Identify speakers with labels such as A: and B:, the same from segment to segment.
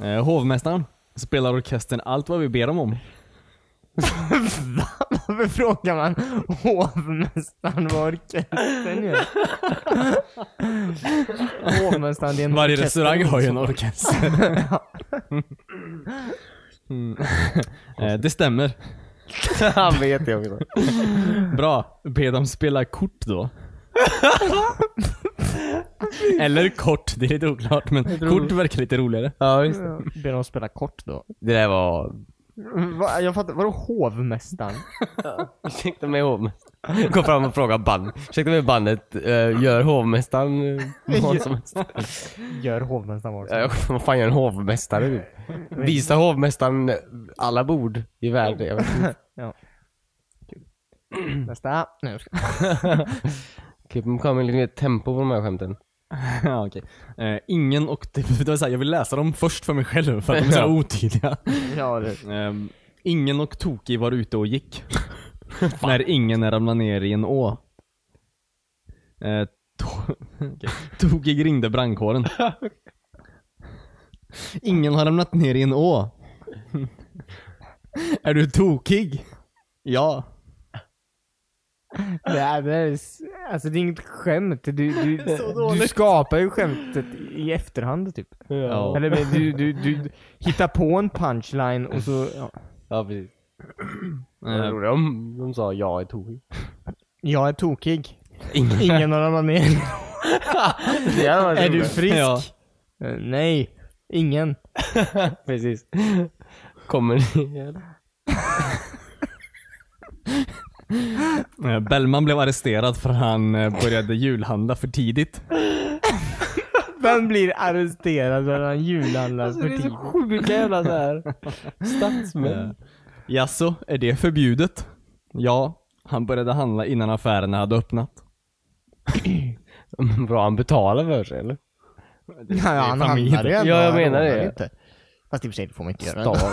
A: Eh, hovmästaren spelar orkestern allt vad vi ber dem om.
B: Va? Varför frågar man hovmästaren vad orkestern gör? hovmästaren, det är en
A: Varje
B: orkester
A: restaurang har ju en
B: också.
A: orkester. mm. eh, det stämmer.
B: Han vet jag också.
A: Bra. Be dem spela kort då. Eller kort, det är lite oklart men kort verkar lite roligare.
C: Ja, just det.
B: Ber dem spela kort då.
C: Det där var...
B: Va? Jag fattar, vadå hovmästaren?
C: Ursäkta mig hovmästaren. Kom fram och fråga band. Ursäkta mig bandet, eh, gör hovmästaren eh, vad som helst?
B: Gör hovmästaren vad som
C: Ja, Vad fan gör en hovmästare nu? Visa hovmästaren alla bord i världen. Jag vet inte.
B: Ja. Kul. Nästa. Nej, jag ska...
C: Okej, men kom med lite mer tempo på de här skämten.
A: ja, okej. Eh, ingen och det, det var så här, jag vill läsa dem först för mig själv för att de är så här otydliga.
B: Ja, det...
A: Ehm, ingen och Toki var ute och gick. när ingen ramlade ner i en å. Eh, to- okej. Tokig ringde brandkåren. ingen har ramlat ner i en å. är du tokig? Ja.
B: Det, är, det, är, alltså, det är inget skämt. Du, du, du
A: dåligt.
B: skapar ju skämtet i efterhand typ.
A: Ja.
B: Eller men du, du, du hittar på en punchline och så... Ja.
C: Ja, precis. Det var
A: Eh,
C: roligt om de sa jag är tokig.
B: Jag är tokig.
A: Ehm,
B: Ingen har ramlat ner.
C: Det hade varit
B: är du
C: roligt.
B: frisk?
A: Ja.
B: Eh, Nej. Ingen.
C: Precis. Kommer ni?
A: eh, Bellman blev arresterad för han eh, började julhandla för tidigt.
B: Vem blir arresterad för att han julhandlar
C: Alltså,
B: för tidigt?
C: sjuka jävla såhär statsmän.
A: Jaså, Eh, är det förbjudet? Ja, han började handla innan affärerna hade öppnat.
C: Bra, han betalar för sig eller?
B: Ja, han
A: familjen.
B: handlar ju ändå.
C: Ja, jag
B: han
C: menar
B: rånar
C: det.
B: ju Inte. Fast i och för sig, det får man inte göra. ändå.
C: Stav.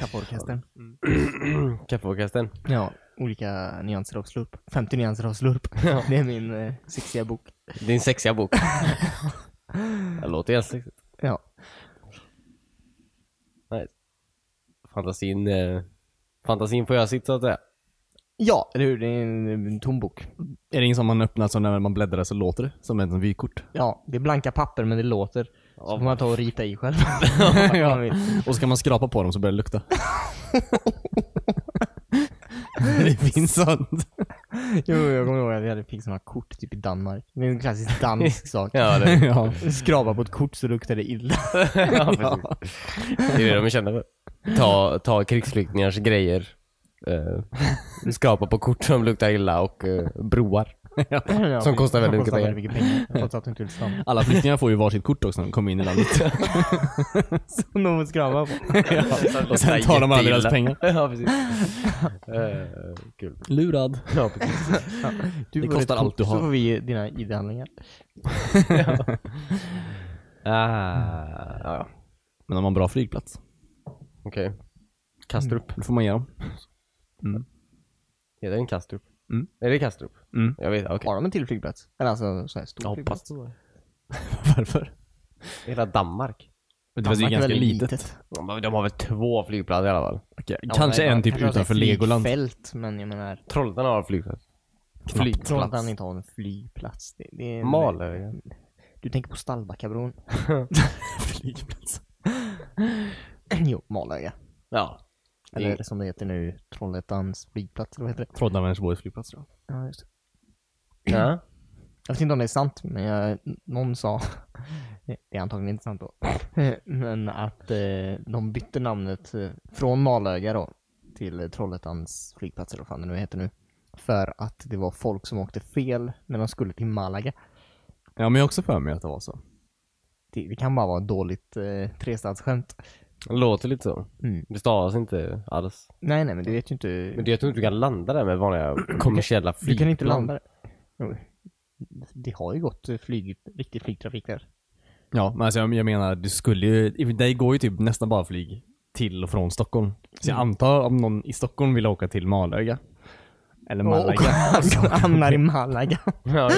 B: Kapporkestern.
C: Kaffeorkestern.
B: Ja, olika nyanser av slurp. 50 nyanser av slurp. Det är min eh, sexiga bok.
C: Din sexiga bok. Det låter helt sexigt.
B: Ja.
C: Nej. Fantasin, eh, fantasin får göra sitt så att säga.
B: Ja, eller hur? Det är en, eh, en tom bok.
A: Är det ingen som man öppnar så när man bläddrar så låter det som ett vykort?
B: Ja, det är blanka papper men det låter. Så får man ta och rita i själv.
A: ja. Och ska man skrapa på dem så börjar det lukta. det finns sånt.
B: jo, jag kommer ihåg att vi hade fick såna kort typ i Danmark. Det är en klassisk dansk sak.
C: Ja, det,
A: ja.
B: Skrapa på ett kort så luktar det illa.
C: ja, precis. det är det de är kända för. Ta, ta krigsflyktingars grejer. Eh, skrapa på kort som luktar illa och eh, broar.
B: Ja,
C: Som
B: för-
C: kostar väldigt mycket
B: kostar
C: pengar.
B: väldigt mycket pengar. Trots att de inte vill stanna.
A: Alla flyktingar får ju varsitt kort också när de kommer in i landet.
B: Som de skrapa på.
A: Och sen tar de alla deras
C: Jätteilla.
A: pengar.
C: ja, precis. Eh, kul.
A: Lurad.
C: Ja, precis.
B: Du
A: Det
B: får
A: kostar
B: ett kort,
A: allt du har.
B: Så får vi dina ID-handlingar.
C: Ah, ja, ja.
A: Men de har en bra flygplats.
C: Okej. Kastrup.
A: Då får man ge dem.
C: Heter den Kastrup?
A: Mm.
C: Är det Kastrup?
A: Mm.
C: Jag vet, okej.
B: Har de en till flygplats? Eller alltså en sån här stor
C: Jag hoppas
B: flygplats?
C: det.
A: Varför?
C: Hela Danmark.
A: Det var ju ganska litet.
C: De har- de har väl två flygplatser i alla fall?
A: Okej,
B: Ja,
A: Kanske
B: nej,
A: en
B: man-
A: typ
B: kanske har
A: utanför
B: ett
A: Legoland.
B: Flygfält, men jag menar.
C: Trollhättan har en flygplats.
A: Knappt.
B: Från att han inte har en flygplats. Det, det är en,
C: Malö.
B: Du tänker på Stallbackabron?
A: Flygplats.
B: jo, Malöga.
C: Ja.
B: Eller
C: Eller...
B: som det heter nu, Trollhättans flygplats, eller vad heter det?
A: Trollhättan-Vänersborgs flygplats tror jag.
B: Ja, just det.
C: Ja.
B: Jag vet inte om det är sant, men jag, någon sa, det är antagligen inte sant då, men att eh, de bytte namnet eh, från Malöga då till eh, Trollhättans flygplats eller vad fan det nu heter nu. För att det var folk som åkte fel när de skulle till Malaga.
A: Ja men jag har också för mig att det var så.
B: Det, det kan bara vara ett dåligt eh, trestadsskämt.
C: Det låter lite så.
B: Mm.
C: Det stavas inte alls.
B: Nej, nej, men du vet ju inte.
C: Men det- jag tror inte du kan landa där med vanliga kommersiella
B: Du
C: flygplan.
B: kan inte landa där. Jo, Det har ju gått eh, flyg, riktig flygtrafik där.
A: Ja, men alltså jag, jag menar, du skulle ju, det går ju typ nästan bara
C: Mm.
A: flyg till och från Stockholm. Så jag antar om någon i Stockholm vill åka till Malöga, Eller
B: Och
A: Malaga.
C: alltså.
B: hamnar i Malaga.
C: Ja,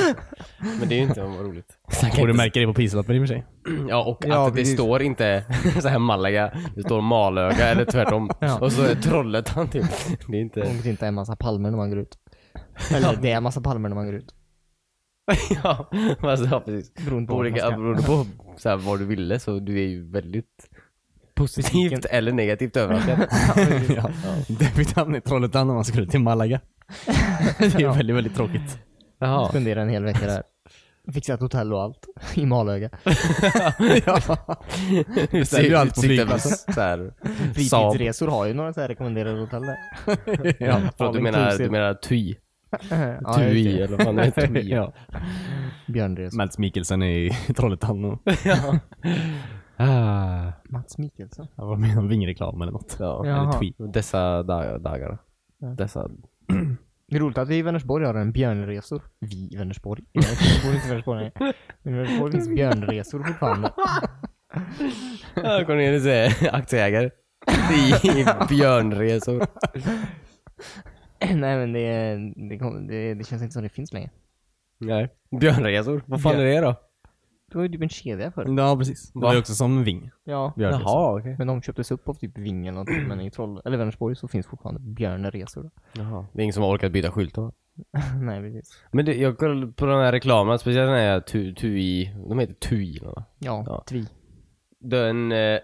C: men det är ju inte vad roligt.
A: Och du märker det på prislappen i och för sig.
C: Ja, och
B: Ja,
C: att det
B: precis.
C: står inte så här Malaga, det står Malöga eller tvärtom.
B: Ja.
C: Och så är det Trollhättan typ. Det är inte...
B: Och inte en massa palmer när man går ut. Eller det är en massa palmer när man går ut.
C: Ja, alltså, ja precis.
B: Beroende
C: På
B: på
C: olika,
B: vad man
C: beroende på så här, vad du ville så du är ju väldigt positivt eller negativt överraskad.
A: ja. David hamnade i Trollhättan när man skulle till Malaga. det är ju väldigt, väldigt tråkigt.
B: ska.
C: Jaha.
B: Spendera en hel vecka där. Fixat hotell och allt. I Malöga.
C: Du
A: säljer ju allt på flygplatsen.
C: Så här, Saab.
B: Fritidsresor har ju några så här rekommenderade hotell där.
A: ja.
C: Förlåt, du
B: All
C: menar,
B: inclusive.
C: du menar TUI?
B: Ja, just
C: TUI
B: det.
C: eller vad fan är det? TUI?
A: ja.
B: Björnresor.
A: Mats Mikkelsen är i Trollhättan och...
C: Ah,
B: Mats Mikkelsen.
A: Ja, Vad menar han? Vingreklam eller något?
C: ja.
B: Jaha.
A: Eller tweet.
C: Dessa dag- dagar. Dessa...
B: Det är roligt att vi i Vänersborg har en björnresor. Vi i Vänersborg? I Vänersborg bor inte i Vänersborg, nej. Men i Vänersborg finns björnresor fortfarande.
C: Ja, Cornelis är aktieägare. I i björnresor.
B: nej men det, är- det, kom- det, det känns inte som det finns längre.
C: Nej. Björnresor? Vad fan är det då?
B: Det var ju typ en kedja förr.
A: Ja, precis. Det
C: Va?
A: var ju också som Ving.
B: Ja.
A: Björnresor.
C: okej.
B: Men de köptes upp av typ Ving eller någonting. Men i Troll, eller Vänersborg så finns fortfarande björnresor.
C: Jaha. Det är ingen som har orkat byta skylt då?
B: nej precis.
C: Men det, jag kollade på den här reklamen, speciellt den här Tu- TUI, de heter TUI va?
B: Ja,
C: Ja.
B: tvi.
C: Den, eh,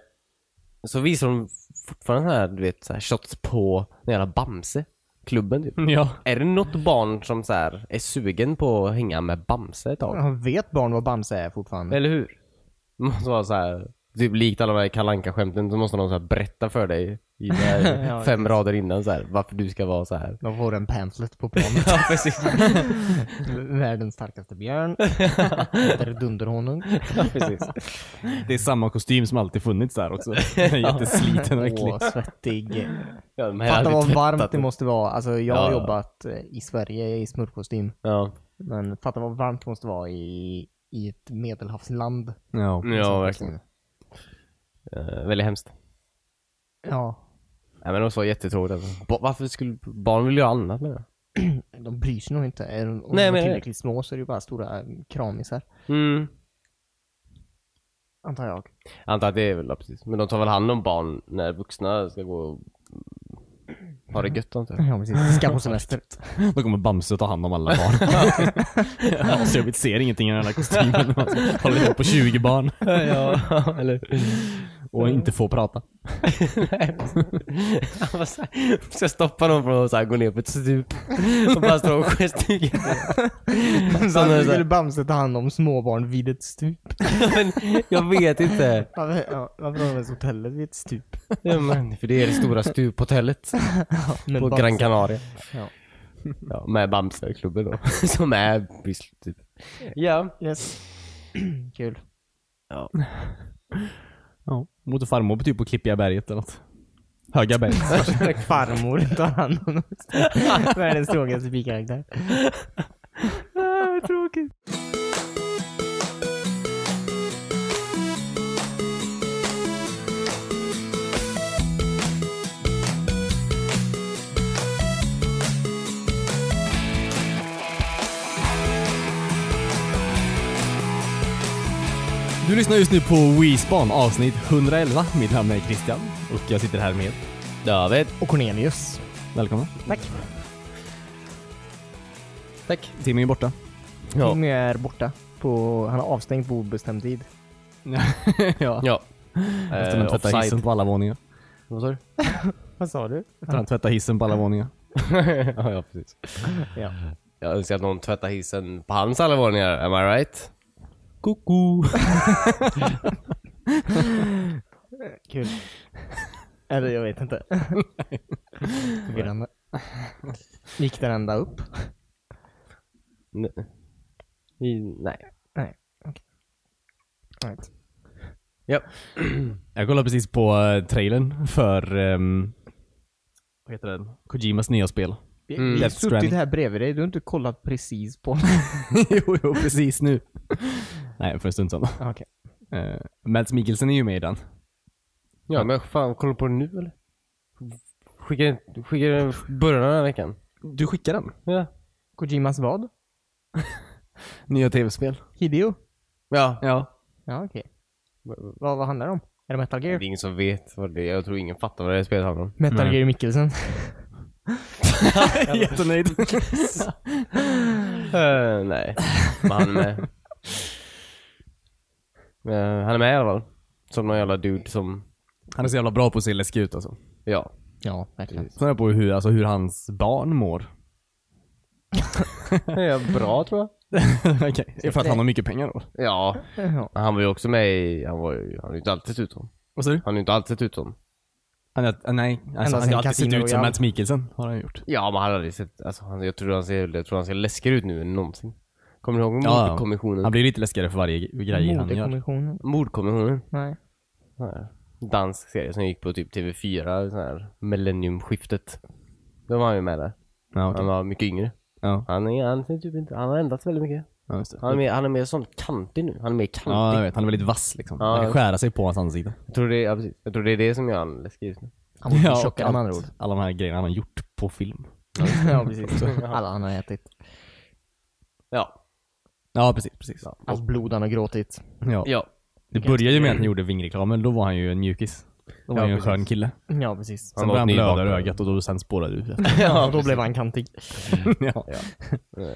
C: så visar de fortfarande den här, du vet, så här shots på den jävla Bamse-klubben typ.
A: Ja.
C: Är det något barn som så här är sugen på att hänga med Bamse ett tag?
B: Ja, vet barn vad Bamse är fortfarande?
C: Eller hur? Det måste vara så här, typ likt alla de här kalanka skämten så måste de så här berätta för dig i det här
B: Ja,
C: fem rader innan så här, varför du ska vara så här.
B: De får en pamphlet på planet.
C: Ja, precis.
B: Världens starkaste björn. Heter Dunderhonung.
C: Ja, precis.
A: Det är samma kostym som alltid funnits där också. Den är Jättesliten och äcklig.
B: Åh, svettig.
C: Ja, de här
B: Fatta
C: hade
B: vad
C: tvättat
B: varmt det
C: dem.
B: måste vara. Alltså jag
C: Ja,
B: har
C: ja.
B: jobbat eh, i Sverige i smurfkostym.
C: Ja,
B: Men fatta vad varmt det måste vara i, i ett medelhavsland.
A: Ja.
C: ja verkligen. Eh, väldigt hemskt.
B: Ja.
C: Nej men de var jättetråkigt alltså. Ba- Varför skulle barn vilja göra annat med det?
B: De bryr sig nog inte. Är de, om
C: Nej,
B: de
C: men-
B: är tillräckligt små så är det ju bara stora eh, kramisar.
C: Mm.
B: Antar jag.
C: Antar att det är väl, ja, precis. Men de tar väl hand om barn när vuxna ska gå och ha det gött antar jag.
B: Ja precis. Ska på semester.
A: Då kommer Bamse ta hand om alla barn. ja, så jag ser ingenting i den här kostymen. Man ska Hålla ihop på 20 barn.
C: ja, eller
A: Och inte få prata.
C: Nej. Han bara så här, Ska stoppa dem från att så här gå ner på ett stup och bara stå och gestikulera. Så han är
B: Varför
C: så
B: skulle
C: här,
B: Bamse ta hand om småbarn vid ett stup?
C: Men Jag vet inte.
B: Varför, ja, varför har de ens hotellet vid ett stup?
C: Ja, men, för det är det stora stuphotellet
B: Med
C: på
B: Bamse.
C: Gran Canaria.
B: Ja.
C: Ja, med Bamseklubben då. Som är Bristol typ. Ja.
B: Yes. Kul.
A: Ja. Mot farmor på typ på Klippiga berget eller något. Höga berget.
B: Farmor tar hand om dem. Världens tråkigaste bikaraktär.
C: Tråkigt.
A: Du lyssnar just nu på WeSpan avsnitt 111. Mitt namn är Christian och jag sitter här med.
C: David.
B: Och Cornelius.
A: Välkommen.
B: Tack.
A: Tack. Timmy är borta.
C: Ja.
B: Timmy är borta. På, han har avstängt på obestämd tid.
A: ja.
C: Ja.
A: Efter att
C: Eh,
A: han tvättade hissen
C: offside.
A: på alla våningar.
C: Vad sa du?
B: Vad sa du?
A: Efter att han tvättade hissen på alla våningar.
C: ja, ja, precis.
B: Ja.
C: Jag önskar att någon tvättar hissen på hans alla våningar, am I right? Koko.
B: Kul. Eller jag vet inte. Förvirrande. Gick den ända upp?
C: Nej.
B: Nej. Okej. Right.
C: Ja.
A: Jag kollade precis på eh, trailern för... ehm, vad heter den? Kojimas nya spel.
B: Vi,
C: Mm.
B: vi har
A: Death
B: suttit
A: Stranding.
B: här bredvid dig, du har inte kollat precis på
A: jo, jo, precis nu. Nej, för en stund sedan.
B: Okej.
A: Uh, Mads Mikkelsen är ju med i den.
C: Ja men fan, kollar du på det nu eller? Skickar skickar du början av den här veckan?
A: Du skickar den?
C: Ja.
B: Kojimas vad?
A: Nya tv-spel?
B: Hideo?
C: ja.
A: Ja.
B: Ja, okej. Vad, vad handlar det om? Är det Metal
C: Det
B: Gear?
C: är ingen som vet vad det är. Jag tror ingen fattar vad det här spelet handlar om.
B: Metal
A: Nej.
B: Gear Mikkelsen.
A: Jättenöjd.
C: Eh, nej, men han är med. Eh, han är med i alla fall. Som någon jävla dude som,
A: Han är så jävla bra på att se läskig ut alltså.
C: ja.
B: Ja, verkligen.
A: Sen är jag på hur, alltså, hur hans barn mår.
C: Är bra tror jag.
A: Okej. För att han har mycket pengar då.
C: Ja,
B: Ja.
C: han var ju också med i, han var ju, han har ju inte alltid sett ut som.
A: Vad sa du?
C: Han har ju inte alltid sett ut som.
A: Han, är- nej, alltså,
B: Ända
A: han
B: sen
A: har alltid sett
B: Casino
A: ut som
B: Royale.
A: Matt Mikkelsen. Har han gjort.
C: Ja, men han har aldrig sett, alltså han, jag tror han ser, jag tror han ser läskigare ut nu än någonsin. Kommer du ihåg
A: Ja, ja.
C: mordkommissionen?
A: Han blir lite läskigare för varje grej han gör.
B: Modekommissionen?
C: Mordkommissionen?
B: Nej.
C: Sån här Dansk serie som gick på typ TV4, sån här millenniumskiftet. Då var han ju med där.
A: Ja,
C: Han
A: okej.
C: var mycket yngre.
A: ja,
C: Han, är, han, ser typ inte, han har ändrats väldigt mycket.
A: ja, just det.
C: Han är mer, han är mer sån kantig nu. Han är mer kantig.
A: Ja, jag vet. Han är väldigt vass liksom.
C: Ja,
A: Man
C: jag-
A: kan skära sig på hans ansikte.
C: Jag, tror det, är- ja, precis. jag tror det är det som gör han läskig just nu.
B: Han var
A: och
B: tjockare
A: allt-
B: med andra ord.
A: Alla de här grejerna han har gjort på film.
B: ja, precis. Alla han har ätit.
C: Ja.
A: Ja, precis. precis. Ja.
B: Allt blod han har gråtit.
C: Ja.
A: Det började ju med att han gjorde vingreklamen. Då var han ju en mjukis. Då var
C: Ja,
A: han ju en
C: precis.
A: skön kille.
B: Ja, precis.
A: Sen
C: var
A: började han
C: nybakad.
A: blöda ur ögat och då sen spårade det ut.
B: Ja, då blev han kantig.
A: ja. Eh.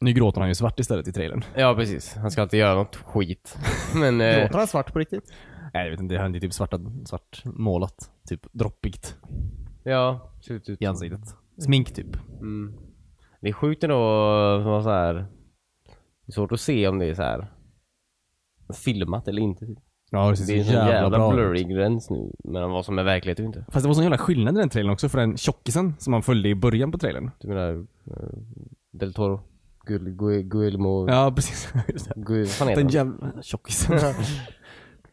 A: Nu gråter han ju svart istället i trailern.
C: Ja, precis. Han ska inte göra något skit. Men... Eh,
B: Gråter han svart på riktigt?
A: Nej, jag vet inte. Han är typ svarta, svart målat. Typ droppigt
C: ja. Ser ut ut.
A: i ansiktet. Smink typ.
C: Mm. Det är sjukt ändå som var så här. Det är svårt att se om det är så här filmat eller inte. typ.
A: Ja, det ser
C: Det
A: så
C: är en sån
A: jävla,
C: jävla
A: bra ut.
C: blurry gräns nu mellan vad som är verklighet och inte.
A: Fast det var sån jävla skillnad i den trailern också för den tjockisen som man följde i början på trailern.
C: Du menar eh, Del Toro? Guil- Guil- Guillermo...
A: Ja, precis. Just det.
C: Guil- vad fan heter
A: Den
C: han?
A: jävla tjockisen.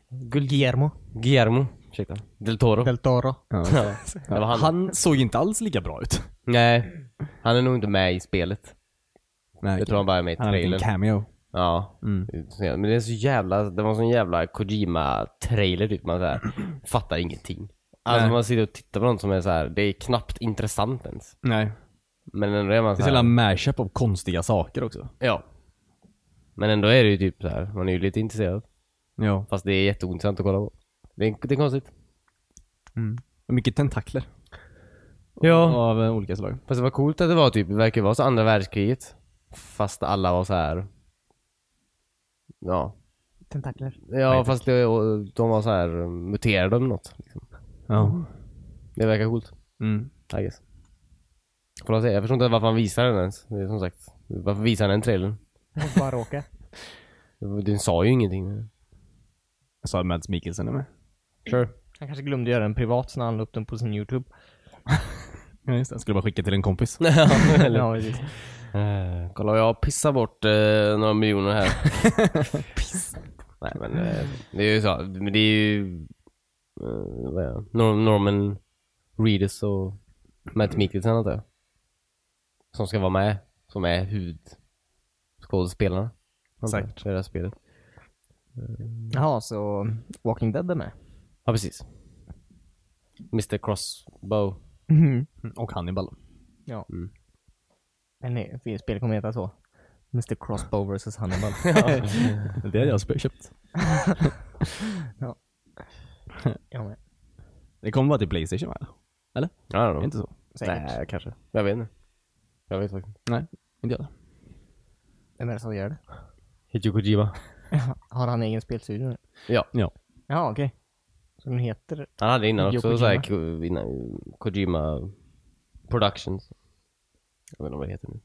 B: Guillermo.
C: Guillermo. Ursäkta. Del Toro.
B: Del Toro.
C: Ja. Det var
A: han.
C: han.
A: såg inte alls lika bra ut.
C: Nej. Han är nog inte med i spelet.
A: Nej,
C: Jag tror han bara är med i
A: han hade en
C: trailern.
A: liten cameo.
C: Ja.
A: Mm.
C: Men det är så jävla, det var en sån jävla Kojima-trailer typ. Man så här, fattar ingenting. Alltså
A: Nej.
C: man sitter och tittar på något som är så här, det är knappt intressant ens.
A: Nej.
C: Men ändå är man
A: Det
C: så
A: är så jävla
C: här,
A: mashup av konstiga saker också.
C: Ja. Men ändå är det ju typ så här, man är ju lite intresserad.
A: Ja.
C: Fast det är jätteointressant att kolla på. Det är, det är konstigt.
A: Mycket tentakler.
C: Ja.
A: Av eh, olika slag.
C: Fast det var coolt att det var typ, det verkar vara så andra världskriget. Fast alla var så här. Ja.
B: Tentakler.
C: Ja fast det, och de var så här eh, muterade om något. Liksom.
A: Ja.
C: Det verkar coolt.
A: Mm.
C: I guess. Får jag, säga. jag förstår inte varför han visar den ens. Det är som sagt. Varför visar han den trailern?
B: Bara råka.
C: Den sa ju ingenting.
A: Jag sa att Mads Mikkelsen är med.
C: Sure.
B: Han kanske glömde göra den privat när han la upp den på sin YouTube.
A: Ja, just det. Jag skulle bara skicka till en kompis.
C: Eller,
B: Ja, precis.
C: eh, kolla jag pissar bort eh, några miljoner här. Piss. Nej men eh, det är ju så. Men det är ju eh, vad är det? Nor- Norman Reedus och Matt Mikkelsen antar jag. Som ska vara med. Som är huvudskådespelarna. antar jag,
A: Säkert.
C: I det här spelet.
B: Jaha, så Walking Dead är med?
C: Ja, precis. Mr Crossbow. Mm-hmm.
A: Och Hannibal.
B: Ja.
C: Mm.
B: Men nej, för spelet kommer heta så. Mr Crossbow vs Hannibal.
A: Det hade jag sp- köpt.
B: Jag med.
A: Det kommer bara till Playstation va? Eller?
C: Ja,
A: Är det inte så?
B: Säkert.
C: Nej, kanske. Jag vet inte. Jag vet faktiskt inte.
A: Nej, inte jag.
B: Vem är det som gör det?
C: Hideo Kojima.
B: Har han egen spelstudio nu?
C: Ja.
A: Ja.
B: Ja, okej. Så den heter...
C: Han hade innan
B: Hideo
C: också såhär Ko- innan, Kojima Productions. Jag vet inte vad det heter nu.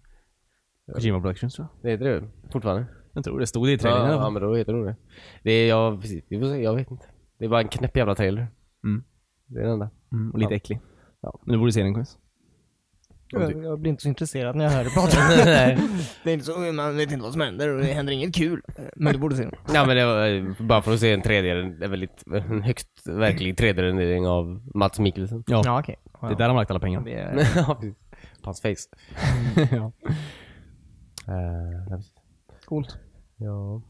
A: Kojima Productions tror jag.
C: Det heter det fortfarande?
A: Jag tror det stod det i trailern i
C: Ja,
A: alla
C: ja,
A: fall.
C: men då heter det nog det. Det är, jag, precis, Vi får se, jag vet inte. Det är bara en knäpp jävla trailer.
A: Mm.
C: Det är den enda.
A: Mm, och lite
C: Ja.
A: äcklig. Ja. Men du borde se den kompis.
B: Jag, jag blir inte så intresserad när jag hör det pratas.
C: Nej.
B: det är inte så, man vet inte vad som händer och det händer inget kul. Men du borde se den.
C: Ja men det var eh, bara för att se en tredjedel, en väldigt, en högst verklig tredjedel av Mats Mikkelsen.
A: Ja.
B: Ja, okej.
A: Det är där de har lagt alla pengar.
B: Det är...
C: ja, precis. På hans face.
A: ja.
C: Uh,
B: Coolt.
C: ja.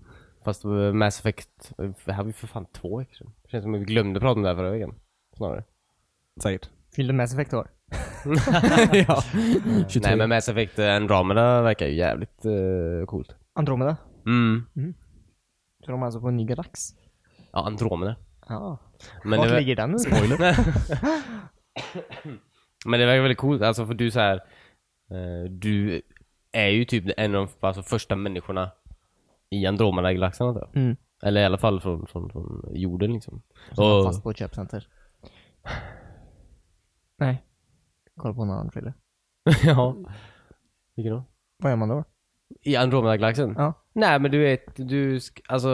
C: Fast eh, Mass Effect, eh, det här var ju för fan två veckor sedan. Det känns som att vi glömde prata om det här förra veckan. Snarare.
A: Säkert.
B: Fyllde Mass Effect år.
A: ja. 23.
C: Nej men Mass Effect eh, Andromeda verkar ju jävligt eh, coolt.
B: Andromeda.
C: Mm.
B: Så de är alltså på en ny galax?
C: Ja, Andromeda.
B: Ja.
C: Men
B: Vart
C: det,
B: ligger den? Spoiler.
C: men det verkar väldigt coolt, alltså för du så här, eh, du är ju typ en av de alltså, första människorna i Andromeda-galaxen antar jag.
B: Mm.
C: Eller i alla fall från, från, från jorden liksom.
B: Och...
C: Och,
B: Fast på ett köpcenter. Nej. Kolla på en annan thriller.
C: ja. Vilken då?
B: Vad gör man då?
C: I Andromeda-galaxen?
B: Ja.
C: Nej men du vet, du, sk- alltså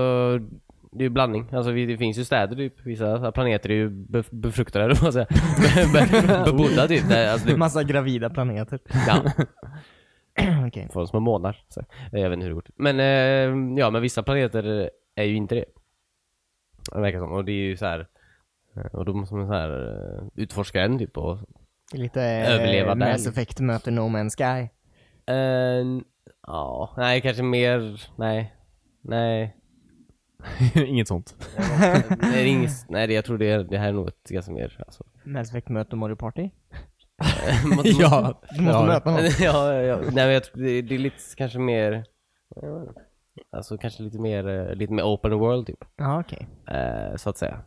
C: det är ju blandning. Alltså vi- det finns ju städer typ. Vissa så här planeter är ju bef- befruktade eller vad man säger. Be- be- Bebodda typ. Nej, Alltså, det,
B: Massa gravida planeter.
C: ja.
B: Okej.
C: Från små månar. Så. Jag vet inte hur det går till. Men eh, ja, men vissa planeter är ju inte det. Det verkar som. Och det är ju så här. eh, Och de som är så här eh, utforska en typ och...
B: Det är Lite
C: Överleva
B: Överleva
C: där.
B: Mass Effect möter No Man's Sky.
C: Eh, ja, nej kanske mer, nej. Nej.
A: Inget sånt.
C: nej, det är inget, nej det, jag tror det, är- det här är nog ett ganska mer alltså.
B: Mass Effect möter Mario Party.
A: ja.
B: Du måste
A: ja.
B: möta någon.
C: ja, ja, ja. Nej men jag tror det, det är lite kanske mer, jag vet inte. alltså kanske lite mer, eh, lite mer open world typ.
B: Ja, okej.
C: eh, så att säga.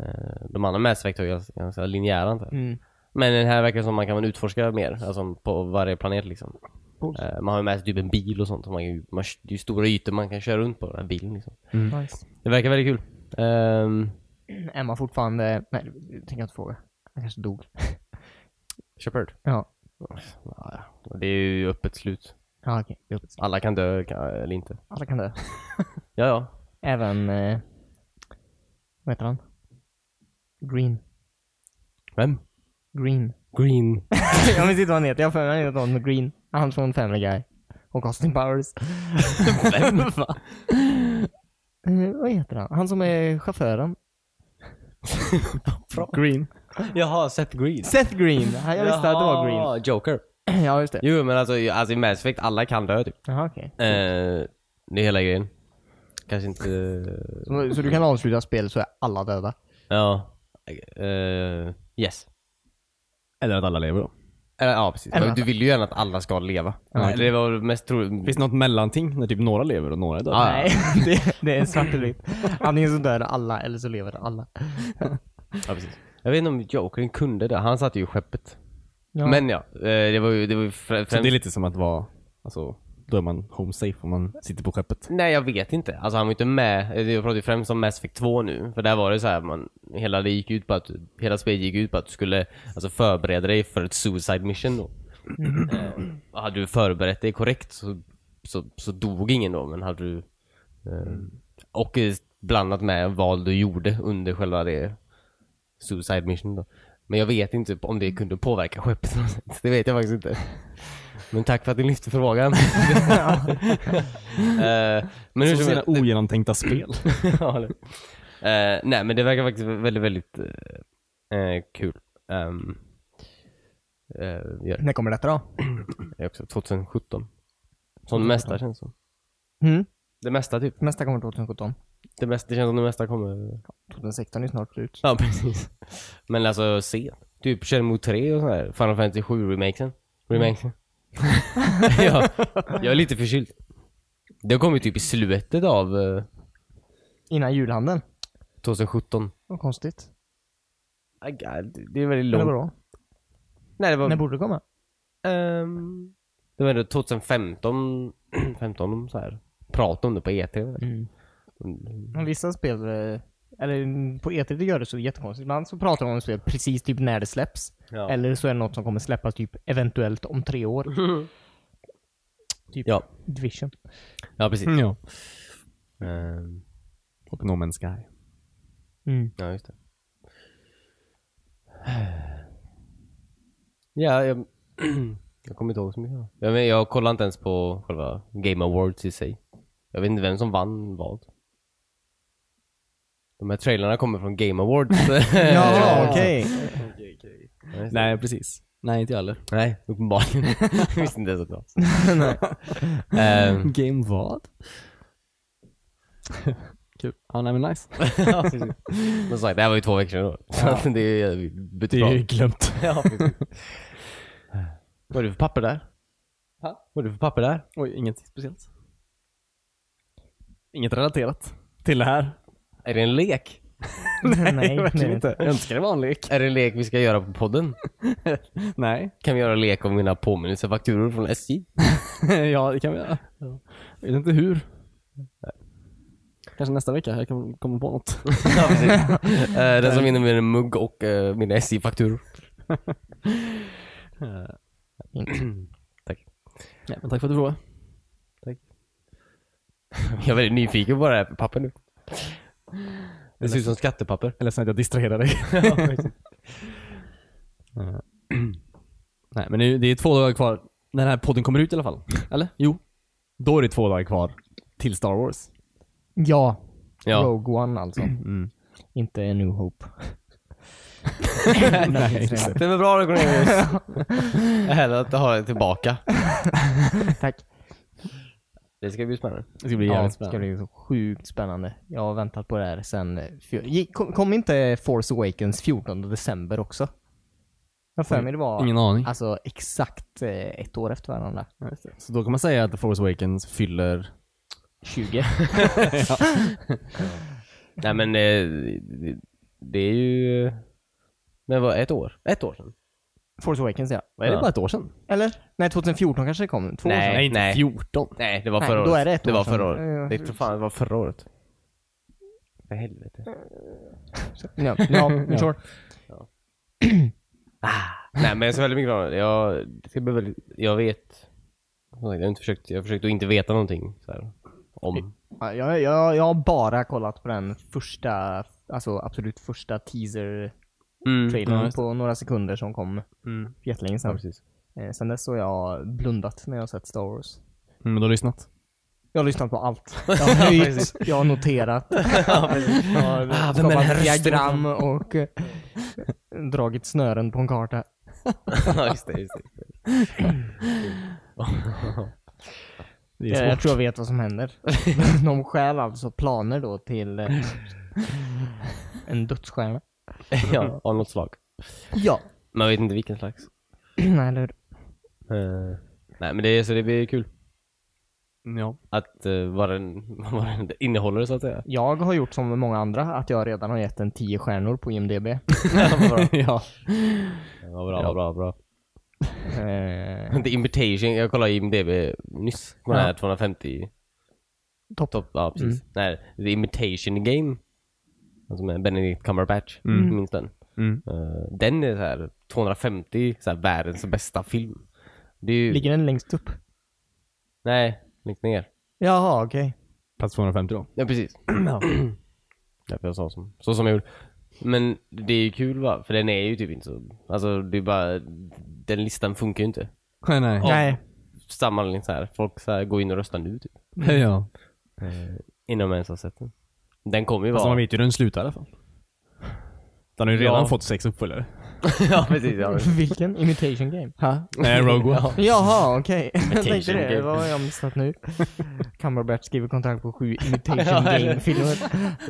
C: Eh, de andra Mass Effect är ju ganska, ganska linjära antar jag.
B: Mm.
C: Men den här verkar som man kan utforska mer, alltså på varje planet liksom.
B: Coolt.
C: Eh, man har ju med sig typ en bil och sånt, och man, kan ju- man, det är ju stora ytor man kan köra runt på den här bilen liksom.
B: Nice.
C: Det verkar väldigt kul. Ehm,
B: Är man fortfarande... Nej, jag tänker inte fråga. Han kanske dog.
C: Shepard?
B: Ja.
C: Ja, ja. Det är ju öppet slut.
B: Ja, okej. Det är öppet.
C: Alla kan dö kan, eller inte.
B: Alla kan dö.
C: Ja, ja.
B: Även... Eh, vad heter han? Green.
C: Vem?
B: Green.
C: Green.
B: jag minns inte vad han heter. Jag har för mig att han heter något med Green. Han från Family Guy. Och Austin Powers.
C: Vem?
B: Eh, vad heter han? Han som är chauffören.
A: Green.
C: Jaha, Seth Green.
B: Seth Green. Ja, Jag visste att det var Green.
C: Jaha, Joker.
B: ja, just det.
C: Jo, men alltså, i- alltså i Mass Effect, alla kan dö typ.
B: Jaha, okej.
C: Eh, det är hela grejen. Kanske inte... eh,
B: Så, så du kan avsluta spelet så är alla döda.
C: Ja. Eh, yes.
A: Eller att alla lever då.
C: Eller, ja, precis.
B: Eller-
C: Men du vill ju gärna att alla ska leva.
B: Ja.
C: det var det mest troligt.
A: Finns det något mellanting när typ några lever och några är döda?
C: Ja,
B: Nej, det, det är svart eller vitt. Antingen så dör alla eller så lever alla.
C: Ja, precis. Jag vet inte om Jokern kunde det. Han satte ju skeppet.
B: Ja.
C: Men ja, eh, det var ju... Det var ju frä-
A: Så
C: främst...
A: det är lite som att vara, alltså, då är man home safe om man sitter på skeppet.
C: Nej jag vet inte. Alltså han var ju inte med. Jag pratar ju främst om Mass Effect 2 nu. För där var det så här, man, hela det gick ut på att, hela spelet gick ut på att du skulle alltså, förbereda dig för ett suicide mission då. Eh, och hade du förberett dig korrekt så, så, så dog ingen då, men hade du... Eh, och eh, blandat med val du gjorde under själva det suicide mission då. Men jag vet inte om det kunde påverka skeppet på något sätt. Det vet jag faktiskt inte. Men tack för att ni lyfte frågan. Eh, men
A: Så
C: hur som
A: sina
C: helst-
A: ogenomtänkta spel.
C: Ja, eller- Eh, nej men det verkar faktiskt väldigt, väldigt eh, eh, kul. Ehm, eh, gör det.
B: När kommer detta då?
C: det också. 2017. Som det mesta känns som.
B: Mm.
C: Det mesta typ.
B: Nästa kommer 2017.
C: Det, mesta, det känns som det mesta kommer.
B: 2016 är ju snart slut.
C: Ja precis. Men alltså se. Typ Shenmue 3 och sådär. Final Fantasy 7 remakesen. Remakesen. ja, jag är lite förkyld. Det har kommit typ i slutet av eh,
B: Innan julhandeln.
C: 2017.
B: Vad konstigt.
C: Ah, God, det är väldigt
B: Eller
C: långt.
B: vadå?
C: Nej, det var...
B: När borde det komma?
C: Ehm, det var ändå 2015, 15 så här. Prat om det på E Mm. E3.
B: Mm. Men Vissa spel, eh, eller mm, på E3 det gör det så jättekonstigt. Ibland så pratar de om spel precis typ när det släpps.
C: Ja.
B: Eller så är det något som kommer släppas typ eventuellt om tre år. typ
C: Ja.
B: Division.
C: ja, precis.
A: ja.
C: Ehm,
A: Och No Man's Sky.
B: Mm.
C: ja, just det. Ja, jag, jag kommer inte ihåg så mycket. Jag, men, jag kollar inte ens på själva Game Awards i sig. Jag vet inte vem som vann vad. De här trailerna kommer från Game Awards.
B: Ja, okej.
A: Nej, precis. Nej, inte jag heller.
C: Nej, uppenbarligen. Jag visste inte ens att det var. Ehm,
A: Game vad? Kul. Ja, nej men nice.
C: Ja, precis. Men som sagt, det här var ju två veckor sedan då. Så att det är
A: Det
C: ju
A: är ju
C: betydligt
A: glömt.
C: Ja, precis. Vad är det för papper där?
A: Ha?
C: Vad är det för papper där?
A: Oj, inget speciellt. Inget relaterat till det här.
C: Är det en lek?
B: nej,
A: verkligen
B: nej.
A: inte. Jag önskar det var en lek.
C: Är det en lek vi ska göra på podden?
A: Nej,
C: Kan vi göra en lek om mina påminnelser, fakturor från SJ?
A: ja det kan vi göra. Jag vet inte hur. Kanske nästa vecka, jag kan komma på något.
C: Ja, precis. Eh, Den som vinner med en mugg och eh, mina SJ-fakturor. Tack.
A: Nej, men tack för att du frågade.
C: Jag är väldigt nyfiken på det här pappret nu. Det ser ut som skattepapper.
A: Jag är ledsen att jag distraherar dig. Eh, Nej men det är, det är två dagar kvar. När den här podden kommer ut i alla fall. Eller? Jo. Då är det två dagar kvar. Till Star Wars.
B: Ja,
C: Ja.
B: Rogue One alltså. Inte A New Hope.
A: Nej, exakt.
C: Det var bra då Cornelius. Hellre att ha det tillbaka.
B: Tack.
C: Det ska bli spännande.
A: Det ska bli
B: Ja,
A: jävligt
B: det ska
A: spännande.
B: bli så sjukt spännande. Jag har väntat på det här sen... fj- Gick- Kom, kom inte Force Awakens 14 december också? Jag har för mig det var
A: Ingen aning.
C: Mm.
B: alltså, exakt eh, ett år efter varandra.
A: Ja, just det. Så då kan man säga att The Force Awakens fyller...
B: 20.
C: Nej men eh, det, det är ju... Men vad, ett år? Ett år sedan?
B: Force Awakens ja.
A: Vad är det?
C: Ja.
A: Bara ett år sedan?
B: Eller? Nej, 2014 kanske det kom. Två år
C: Nej,
B: sedan.
A: inte
C: nej.
A: 14.
C: Nej, det var
B: Nej,
C: förra året.
B: då är det ett år
C: var
B: sedan.
C: förra
B: Ja, ja.
C: året. Det, för fan, det var förra året. För helvete.
B: Ja, ja,
A: Ja.
B: sure.
C: Nej men jag ser väldigt mycket fram emot det. Jag, det ska bli väldigt, jag vet. som sagt, Jag har inte försökt, jag har försökt att inte veta någonting så här, om.
B: Ja, jag, jag, jag har bara kollat på den första, alltså absolut första teaser-trailern
A: Mm.
C: Mm,
A: ja, just
B: på några sekunder som kom
A: Mm.
B: för jättelänge
C: Ja,
B: sedan.
C: precis.
B: Eh, sen dess så har jag blundat när jag har sett Star Wars.
A: Mm, Men du har lyssnat?
B: Jag har lyssnat på allt. Jag har höjt,
C: precis.
B: jag har noterat, jag har
C: Ah, vem är den här
B: skapat
C: rösten?
B: diagram och eh, dragit snören på en karta.
C: Ja, just det, just det.
A: Det
B: Eh, Jag, jag tror jag vet vad som händer. De stjäl alltså planer då till eh, en dödsstjärna.
C: ja, av något slag.
B: Ja.
C: Man vet inte vilken slags.
B: Nej, eller hur?
C: Eh, nej men det, så det blir kul.
A: Ja.
C: Att uh, vad, den, vad den innehåller så att säga.
B: Jag har gjort som många andra, att jag redan har gett den 10 stjärnor på IMDB. Eh,
A: ja.
C: Vad bra, vad bra, vad bra.
B: Topp
C: The Invitation, jag kollade IMDB nyss. Den här 250.
B: top.
C: Topp, ja precis. Nej, The Imitation Game. Alltså med Benedict Cumberbatch.
A: Mm.
C: Minns den.
A: Mm.
C: Eh, den är så här 250, så här världens bästa film. Det är ju...
B: Ligger den längst upp?
C: Nej, längst ner.
B: Jaha, okej.
A: Plats 250 då.
C: Ja, precis. Därför jag sa som, så som jag gjorde. Men det är ju kul va? För den är ju typ inte så... Alltså det är bara... Den listan funkar ju inte.
A: Nej, nej.
C: Ja.
B: Nej.
C: Sammanhållning så här. Folk så här, går in och röstar nu typ.
A: Ja.
C: Innan man ens har sett den. Eh, Den kommer ju vara...
A: Fast man vet ju hur den slutar i alla fall. Den har ju redan
C: Ja.
A: fått sex uppföljare.
C: ja precis. Ja, precis.
B: Vilken? Imitation game?
A: Nej, Rogue One.
B: Jaha, okej. Jag tänkte
C: Imitation
B: det.
C: Game.
B: Vad har jag missat nu? Cumberbatch skriver kontrakt på sju imitation game-filmer.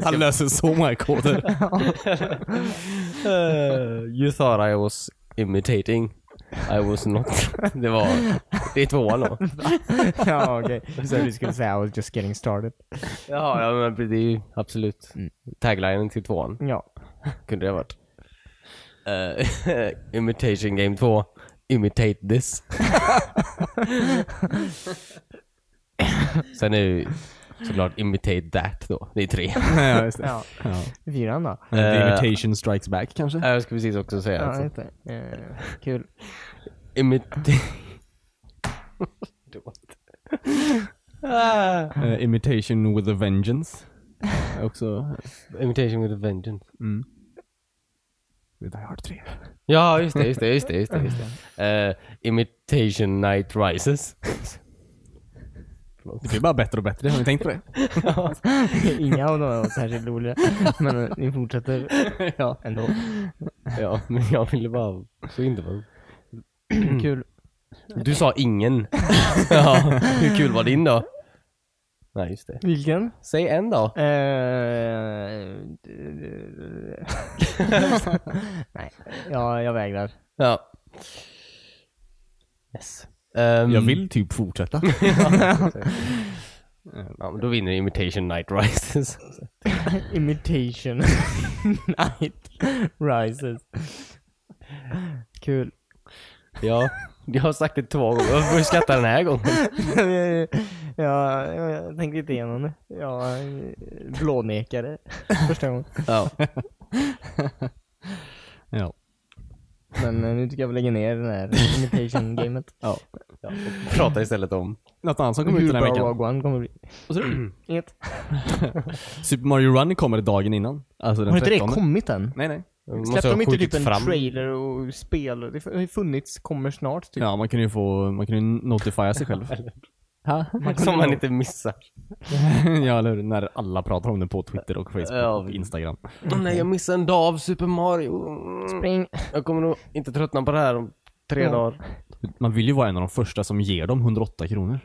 A: Han löser så många koder.
C: Eh, you thought I was imitating. I was not. Det var... Det är tvåan då.
B: ja, okej. Så du skulle säga I was just getting started.
C: Jaha, ja men det är ju absolut. Taglinen Mm. till tvåan
B: Ja.
C: kunde det ha varit. Eh, imitation game 2. Imitate this. Sen är ju såklart imitate that då. Det är tre.
A: ja, just det.
B: ja. Fyran då?
A: The
C: Eh,
A: Imitation Strikes Back kanske?
C: Jag skulle precis också säga
B: Ja,
C: alltså.
B: just det. Eh, kul.
C: Imitate...
A: Eh, imitation with a Vengeance. Är Också...
C: imitation with a vengeance.
A: Mm. Det är Die Hard 3.
C: Ja, just det, just det, just det, just det. Just det. Eh, imitation night rises.
A: Det blir bara bättre och bättre, har ni tänkt på det?
B: Inga av dem var särskilt roliga. Men eh, ni fortsätter ja. ändå.
C: Ja, men jag ville bara... Så inte vara...
B: Kul.
C: Du sa ingen. ja, hur kul var din då? Nej, just det.
B: Vilken? Eh,
C: Säg en då.
B: Nej, ja, jag vägrar.
C: Ja. Yes.
A: Mm.
C: Ehm,
D: Jag vill typ fortsätta.
C: Ja, men då vinner Imitation Night Rises.
B: Imitation Night Rises. Kul.
C: ja, jag har sagt det två gånger. Jag får skratta den här gången.
B: jag, jag, jag tänkte inte igenom det. Jag eh, blånekade första gången.
C: Ja.
A: Ja.
B: Men eh, nu tycker jag vi lägger ner det här imitation-gamet.
C: ja. ja. och Prata istället om... Mm.
A: Något annat som kommer ut
B: Hur
A: den här
B: bra
A: veckan.
B: Rogue One kommer bli.
A: Vad sa du?
B: Inget.
A: Super Mario Run kommer dagen innan. Alltså den
B: Har inte det
A: 13.
B: kommit än?
A: Nej nej.
B: Släppte de inte typ en trailer och spel? Det har ju funnits, kommer snart typ.
A: Ja, man kan ju få, man kan ju notifiera sig själv.
C: Som man inte missar.
A: ja eller hur? När alla pratar om det på Twitter och Facebook
C: Ja,
A: och
C: vi-
A: Instagram.
C: Nej, jag missade en dag av Super Mario.
A: Mm.
B: Spring.
C: Jag kommer nog inte tröttna på det här om tre
B: Ja.
C: dagar.
A: Man vill ju vara en av de första som ger dem 108 kronor.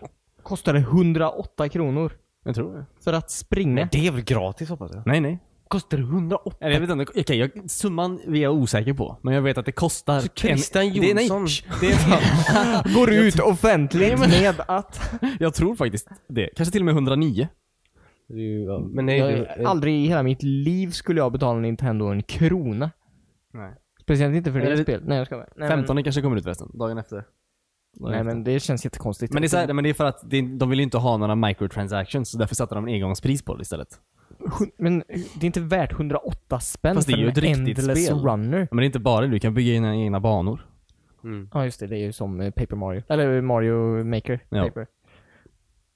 B: Kostade 108 kronor.
A: Jag tror det.
B: För att springa.
C: Nej, det är väl gratis hoppas jag?
A: Nej nej.
C: Kostar det 108?
A: Eller jag vet inte, okej, jag, summan är jag osäker på. Men jag vet att det kostar... Så
C: Alltså, Christian
A: Det, nej,
C: Jonsson.
A: shh, det är,
B: Går ut offentligt med att...
A: jag tror faktiskt det. Kanske till och med 109.
C: Det är ju- ja, Men nej,
B: Jag,
C: det-
B: aldrig i hela mitt liv skulle jag betala Nintendo en krona.
A: Nej.
B: Speciellt inte för det
A: Eller-
B: spelet. Nej jag skojar. Nej,
A: 15 kanske kommer ut förresten. Dagen efter.
B: Men, nej men det känns jättekonstigt.
A: Men det är, så här, men det är för att det, de vill ju inte ha några microtransactions, så därför satte de en engångspris på det istället.
B: Hun- men eh, det är inte värt 108 spänn
A: Fast det är
B: för
A: ju
B: en
A: ett riktigt
B: Endless
A: spel.
B: Runner.
A: Men det är inte bara det, du kan bygga in dina egna banor.
B: Ja just det, det är ju som eh, Paper Mario. Eller Mario Maker.
A: Ja.
B: Paper,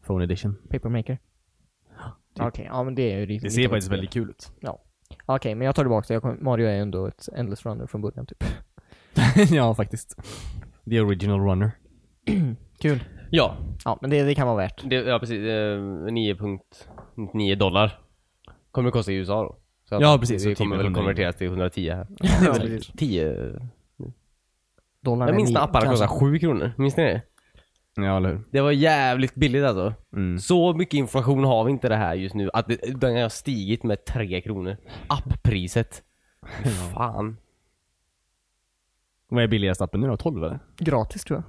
A: Phone edition.
B: Paper Maker. Okej, ja men det är ju riktigt
A: Det ser
B: riktigt
A: faktiskt
B: spel.
A: väldigt kul ut.
B: Ja. Okej, men jag tar tillbaka det. Jag kom, Mario är ju ändå ett Endless Runner från början typ.
A: ja, faktiskt. The original runner.
B: Kul.
C: Ja,
B: Ja, men det, det kan vara värt.
C: det, ja precis. Eh, 9.99 dollar. Kommer det kosta i USA då. Så att
A: Ja, precis,
C: Det
A: så typ
C: kommer väl
A: 100.
C: konverteras till 110 här.
B: Ja, precis.
C: 10...
B: Dollarn
C: Jag
B: är
C: minns när
B: nio,
C: apparna
B: kanske.
C: kostade 7 kronor. Minns ni det?
A: Ja, eller hur?
C: Det var jävligt billigt alltså.
A: Mm.
C: Så mycket information har vi inte det här just nu. Att det, den har stigit med 3 kronor. Apppriset. Fan.
A: Vad är billigaste appen nu då? 12 eller?
B: Gratis tror jag.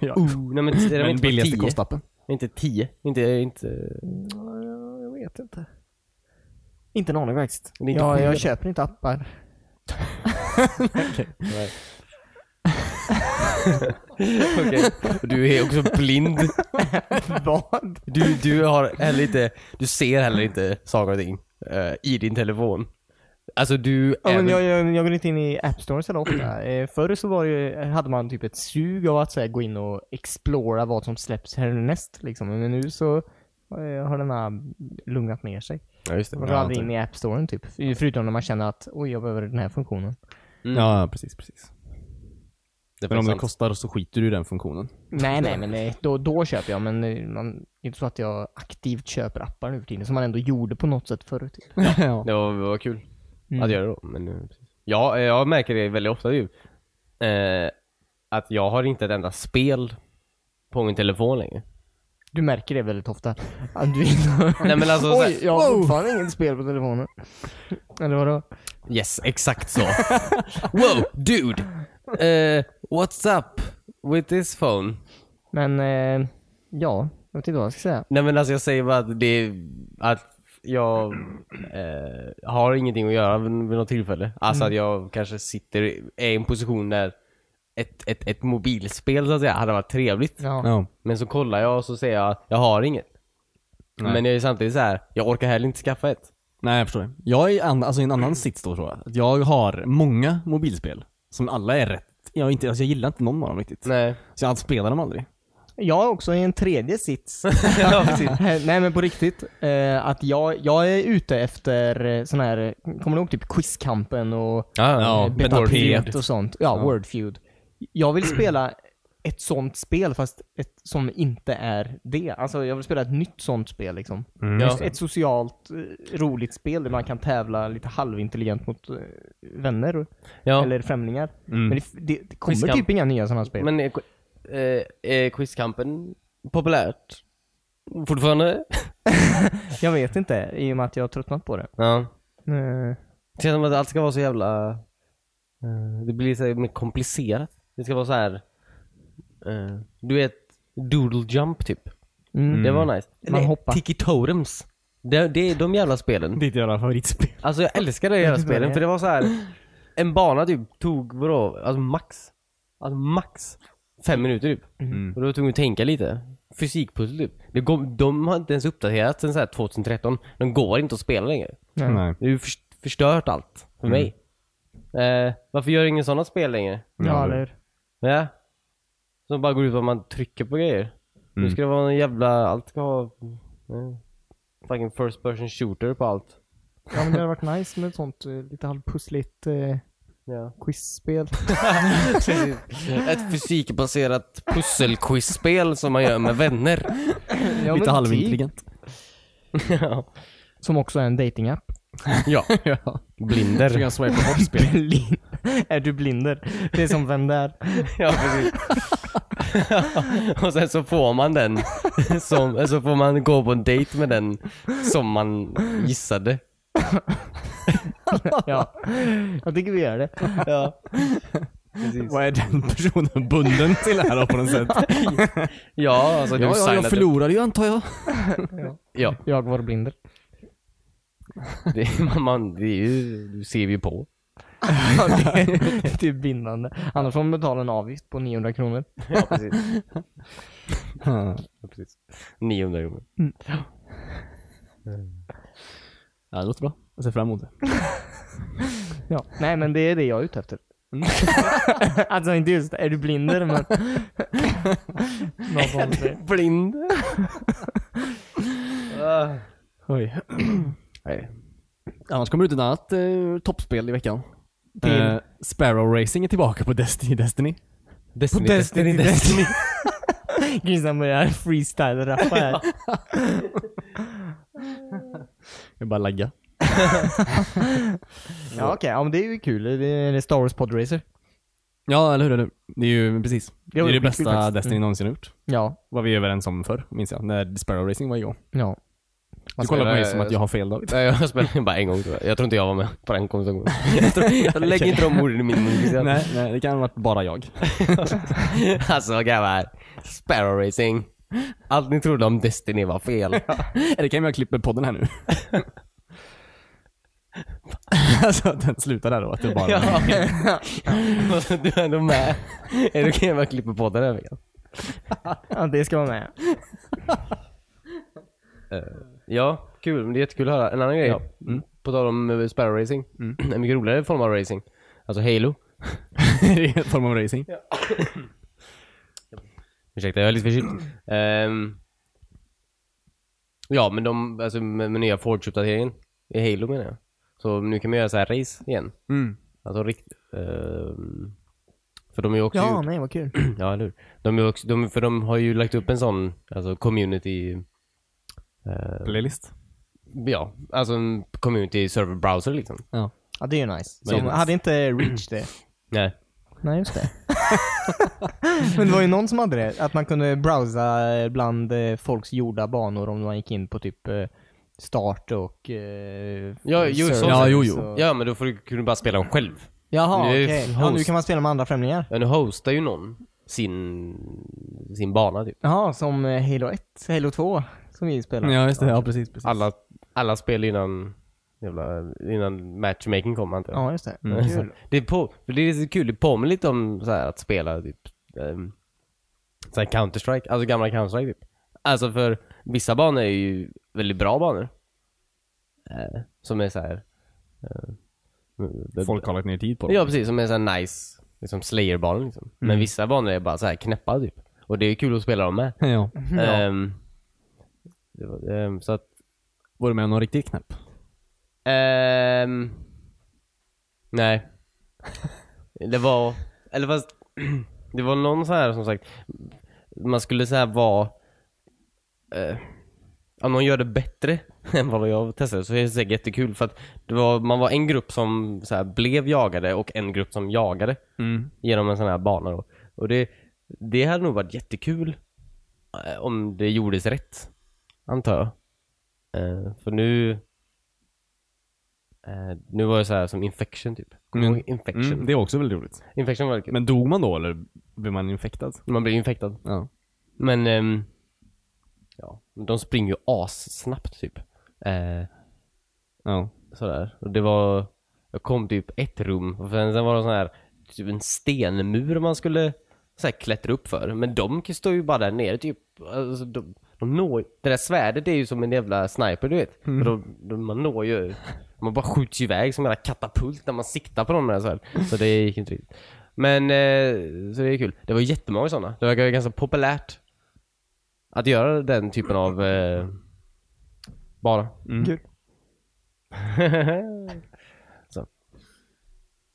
A: ja.
C: Uh, nej men är det
A: Men
C: väl inte bara
A: billigaste
C: 10?
A: kostappen.
C: Inte 10. Inte, inte...
B: Jag vet inte. Inte en aning faktiskt.
C: Det är inte
B: Ja, jag
C: billigt.
B: köper inte appar.
C: Okej. Du är också blind.
B: Vad?
C: Du, du har heller inte, du ser heller inte saker och ting eh, i din telefon. Alltså du
B: Ja,
C: är
B: men
C: väl-
B: jag, jag, jag går inte in i App Store så ofta. Eh, Förr så var det, ju- hade man typ ett sug av att så här, gå in och explora vad som släpps härnäst liksom. Men nu så eh, har den här lugnat ner sig.
C: Ja, just det.
B: Man går aldrig in i App Storen typ. Förutom när man känner att oj, jag behöver den här funktionen.
C: Mm.
A: Ja, ja, precis, precis.
C: Det är
A: Men om
C: faktiskt
A: det
C: sant.
A: kostar så skiter du i den funktionen.
B: Nej, nej, men eh, då, då köper jag. Men eh, man, det är inte så att jag aktivt köper appar nu för tiden. Som man ändå gjorde på något sätt förut. Typ.
A: ja.
C: Det var, det var kul
B: Mm.
C: att göra då. Men, eh, precis. ja, eh, jag märker det väldigt ofta ju. Eh, att jag har inte ett enda spel på min telefon längre.
B: Du märker det väldigt ofta. Att du inte...
C: Nej men alltså, så
B: Oj,
C: här,
B: jag har fortfarande inget spel på telefonen. Eller vadå?
C: yes, exakt så. wow, dude! Eh, what's up with this phone?
B: Men, eh, ja. Jag vet inte vad jag ska säga.
C: Nej men alltså jag säger bara att det, att jag eh, har ingenting att göra vid, vid något tillfälle. Alltså
B: Mm.
C: att jag kanske sitter, är i en position där ett, ett, ett mobilspel så att säga hade varit trevligt.
B: Ja.
A: Ja.
C: Men så kollar jag och så säger jag jag har inget.
A: Nej.
C: Men jag är samtidigt så här, jag orkar heller inte skaffa ett.
A: Nej, jag förstår det. Jag är i an- alltså, i en annan sits då tror jag. Att Jag har många mobilspel. Som alla är rätt. Jag, är inte, alltså, jag gillar inte någon av dem riktigt.
C: Nej.
A: Så jag spelar dem aldrig.
B: Jag är också i en tredje sits.
C: ja, precis.
B: Nej men på riktigt. Eh, att jag, jag är ute efter eh, sån här, eh, kommer du ihåg typ Quizkampen och
C: Ja,
A: Ja,
B: ja,
A: Wordfeud.
B: Betapet Eh, och sånt. Ja, Wordfeud. Jag vill spela ett sånt spel fast ett som inte är det. Alltså jag vill spela ett nytt sånt spel liksom.
C: Ja.
B: Ett socialt, eh, roligt spel där man kan tävla lite halvintelligent mot eh, vänner och-
C: Ja.
B: eller främlingar.
A: Mm.
B: Men det, det, det kommer
C: Quizkamp.
B: typ inga nya sådana spel.
C: Men är, eh, är quizkampen populärt? Fortfarande?
B: Jag vet inte, i och med att jag har tröttnat på det.
C: Ja.
B: Eh,
C: Det känns som att allt ska vara så jävla... eh, Det blir så här mer komplicerat. Det ska vara så här. eh, Du vet, doodle jump typ.
B: Mm.
C: Det var nice.
B: Man hoppar.
C: Tiki Totems. Det, det är de jävla spelen.
A: Ditt jävla favoritspel.
C: Alltså jag älskar de jävla spelen för det var så här. En bana typ tog vadå, alltså max. Alltså max. Fem minuter typ. Och då var jag tvungen att tänka lite. Fysikpussel typ. Det går, de har inte ens uppdaterat sen så här 2013. De går inte att spela längre.
B: Nej.
A: Mm. Nej.
C: Det är ju förs- förstört allt för mig. Eh, varför gör ingen sådana spel längre?
B: Ja, eller hur?
C: Ja. Som bara går ut på att man trycker på grejer. Nu
A: Mm.
C: ska det vara någon jävla, allt ska ha... eh, fucking first person shooter på allt.
B: Ja men det hade varit nice med ett sånt eh, lite halvpussligt eh,
C: Ja.
B: quizspel.
C: Ett fysikbaserat pusselquizspel som man gör med vänner.
A: Lite halvintelligent.
C: ja.
B: typ Som också är en datingapp.
A: ja. Så
C: Blinder.
A: jag swipa bort spel.
B: Blind. är du blinder? Det är som vem där?
C: ja, precis. Och sen så får man den. Som, så får man gå på en dejt med den som man gissade.
B: Ja. Jag tycker vi gör det.
C: Ja. Precis.
A: Vad är den personen bunden till här då på något sätt?
C: Ja, alltså du
A: ja, ja,
C: signade
A: jag förlorade ju antar jag.
C: Ja,
B: Jag var blinder.
C: det, är- man, det är ju, du ser vi ju på.
B: det, är, det är bindande. Annars får man betala en avgift på 900 kronor.
C: Ja, precis. 900 kronor.
A: Ja, det låter bra. Jag ser fram emot det.
B: Ja. Nej men det är det jag är ute efter. alltså inte just, är du blinder men... Någon form av-
C: Blind. Ah.
A: Oj.
C: Nej.
A: Annars kommer det ut ett annat eh, toppspel i veckan.
B: Till?
A: Eh, Sparrow Racing är tillbaka på Destiny Destiny.
C: Destiny,
B: Destiny,
C: Destiny, Destiny.
B: Grissan börjar freestyle-rappa här.
A: Jag bara lagga.
B: Ja okej, ja, men det är ju kul. Det är det Star Wars Podracer.
A: Ja, eller hur? Eller? hur? Det är ju precis. Det
B: Ja,
A: är det
B: det blir kul
A: bästa
B: faktiskt.
A: Destiny någonsin har gjort.
B: Ja.
A: Vad vi är överens om förr, minns jag. När Sparrow Racing var igång.
B: Ja.
A: Du kollar på mig
C: spelar-
A: som att jag har fel David.
C: Nej, jag spelade bara en gång tror jag. Jag tror inte jag var med på den konversationen. Jag, tror, jag lägger inte de orden i min mun. Christian.
A: Nej, nej, det kan ha varit bara jag.
C: Alltså grabbar. Sparrow Racing. Allt ni trodde om Destiny var fel.
A: Eller kan jag klippa podden här nu? alltså att den slutar där då, att det bara...
C: Ja. Alltså, du är ändå med. Är det okej om jag klipper på den här veckan?
B: ja, det ska vara med.
C: Ja, kul. Men det är jättekul att höra. En annan grej. På tal om eh, Sparrow Racing. En mycket roligare form av racing. Alltså Halo.
A: det är en form av racing.
C: Ursäkta, jag är lite förkyld. Ehm, ja, men de, alltså med, med nya Forge-uppdateringen. I Halo menar jag. Så nu kan man göra så här race igen.
A: Mm.
C: Alltså rikt... ehm, för de är ju också...
B: Ja, nej vad kul.
C: Ja, eller hur? De är också, de, för de har ju lagt upp en sån, alltså community... eh,
A: Playlist.
C: ja, alltså en community server browser liksom.
B: Ja, det är ju nice.
C: Det är
B: Som,
C: nice.
B: Hade inte Reach det?
C: Nej.
B: Nej, just det. men det var ju någon som hade det. Att man kunde browsa eh, bland eh, folks gjorda banor om man gick in på typ eh, start och... eh,
C: Ja, jo, så-
B: servers
A: Ja, jo, jo.
B: och-
C: Ja, men då får du, kan du bara spela dem själv.
B: Jaha,
C: Nu
B: okej.
C: är det
B: Ja, nu
C: host.
B: kan man spela med andra främlingar.
C: Ja, nu hostar ju någon sin, sin bana typ.
B: Jaha, som eh, Halo 1, Halo 2 som vi spelar.
A: Ja, just det. Ja, precis. precis.
C: Alla, alla spel innan, jävla, innan matchmaking kom antar jag.
B: Ja, just det.
A: Mm.
B: Kul.
C: Det, är på, för det är så kul, det påminner lite om så här, att spela typ ehm, så här Counter-Strike, alltså gamla Counter-Strike typ. Alltså för vissa banor är ju väldigt bra banor. Eh, som är så här. eh,
A: Folk har lagt ner tid på dem.
C: Ja precis, som är såhär nice, liksom slayer-banor liksom. Men vissa banor är bara så här knäppa typ. Och det är kul att spela dem med.
A: Ja.
C: Ehm, det var, ehm, så att,
A: Var du med om någon riktigt knäpp?
C: ehm, nej. det var, eller fast, det var någon så här som sagt, man skulle säga vara, eh, om någon gör det bättre än vad jag testade så är det säkert jättekul för att det var, man var en grupp som så här, blev jagade och en grupp som jagade.
A: Mm.
C: genom en sån här bana då. Och det, det hade nog varit jättekul eh, om det gjordes rätt. antar jag. Eh, för nu... eh, nu var det så här som infection typ. Kommer du
A: Mm.
C: ihåg Infection.
A: Mm, det är också väldigt roligt.
C: Infection var väldigt kul.
A: Men dog man då eller blev man infektad?
C: Man blir infektad.
A: Ja.
C: Men... ehm, ja, de springer ju assnabbt typ. Eh,
A: Ja.
C: sådär. Och det var... Jag kom typ ett rum och sen, sen var det sån här typ en stenmur man skulle så här, klättra upp för. Men de står ju bara där nere typ. Alltså, de, de når, det där svärdet är ju som en jävla sniper du vet. För de, de, man når ju, man bara skjuts ju iväg som en jävla katapult när man siktar på dem där så, här. så det gick inte riktigt. Men, eh, så det är kul. Det var jättemånga sådana. Det verkar ju ganska populärt att göra den typen av eh, bara.
B: Kul.
C: så.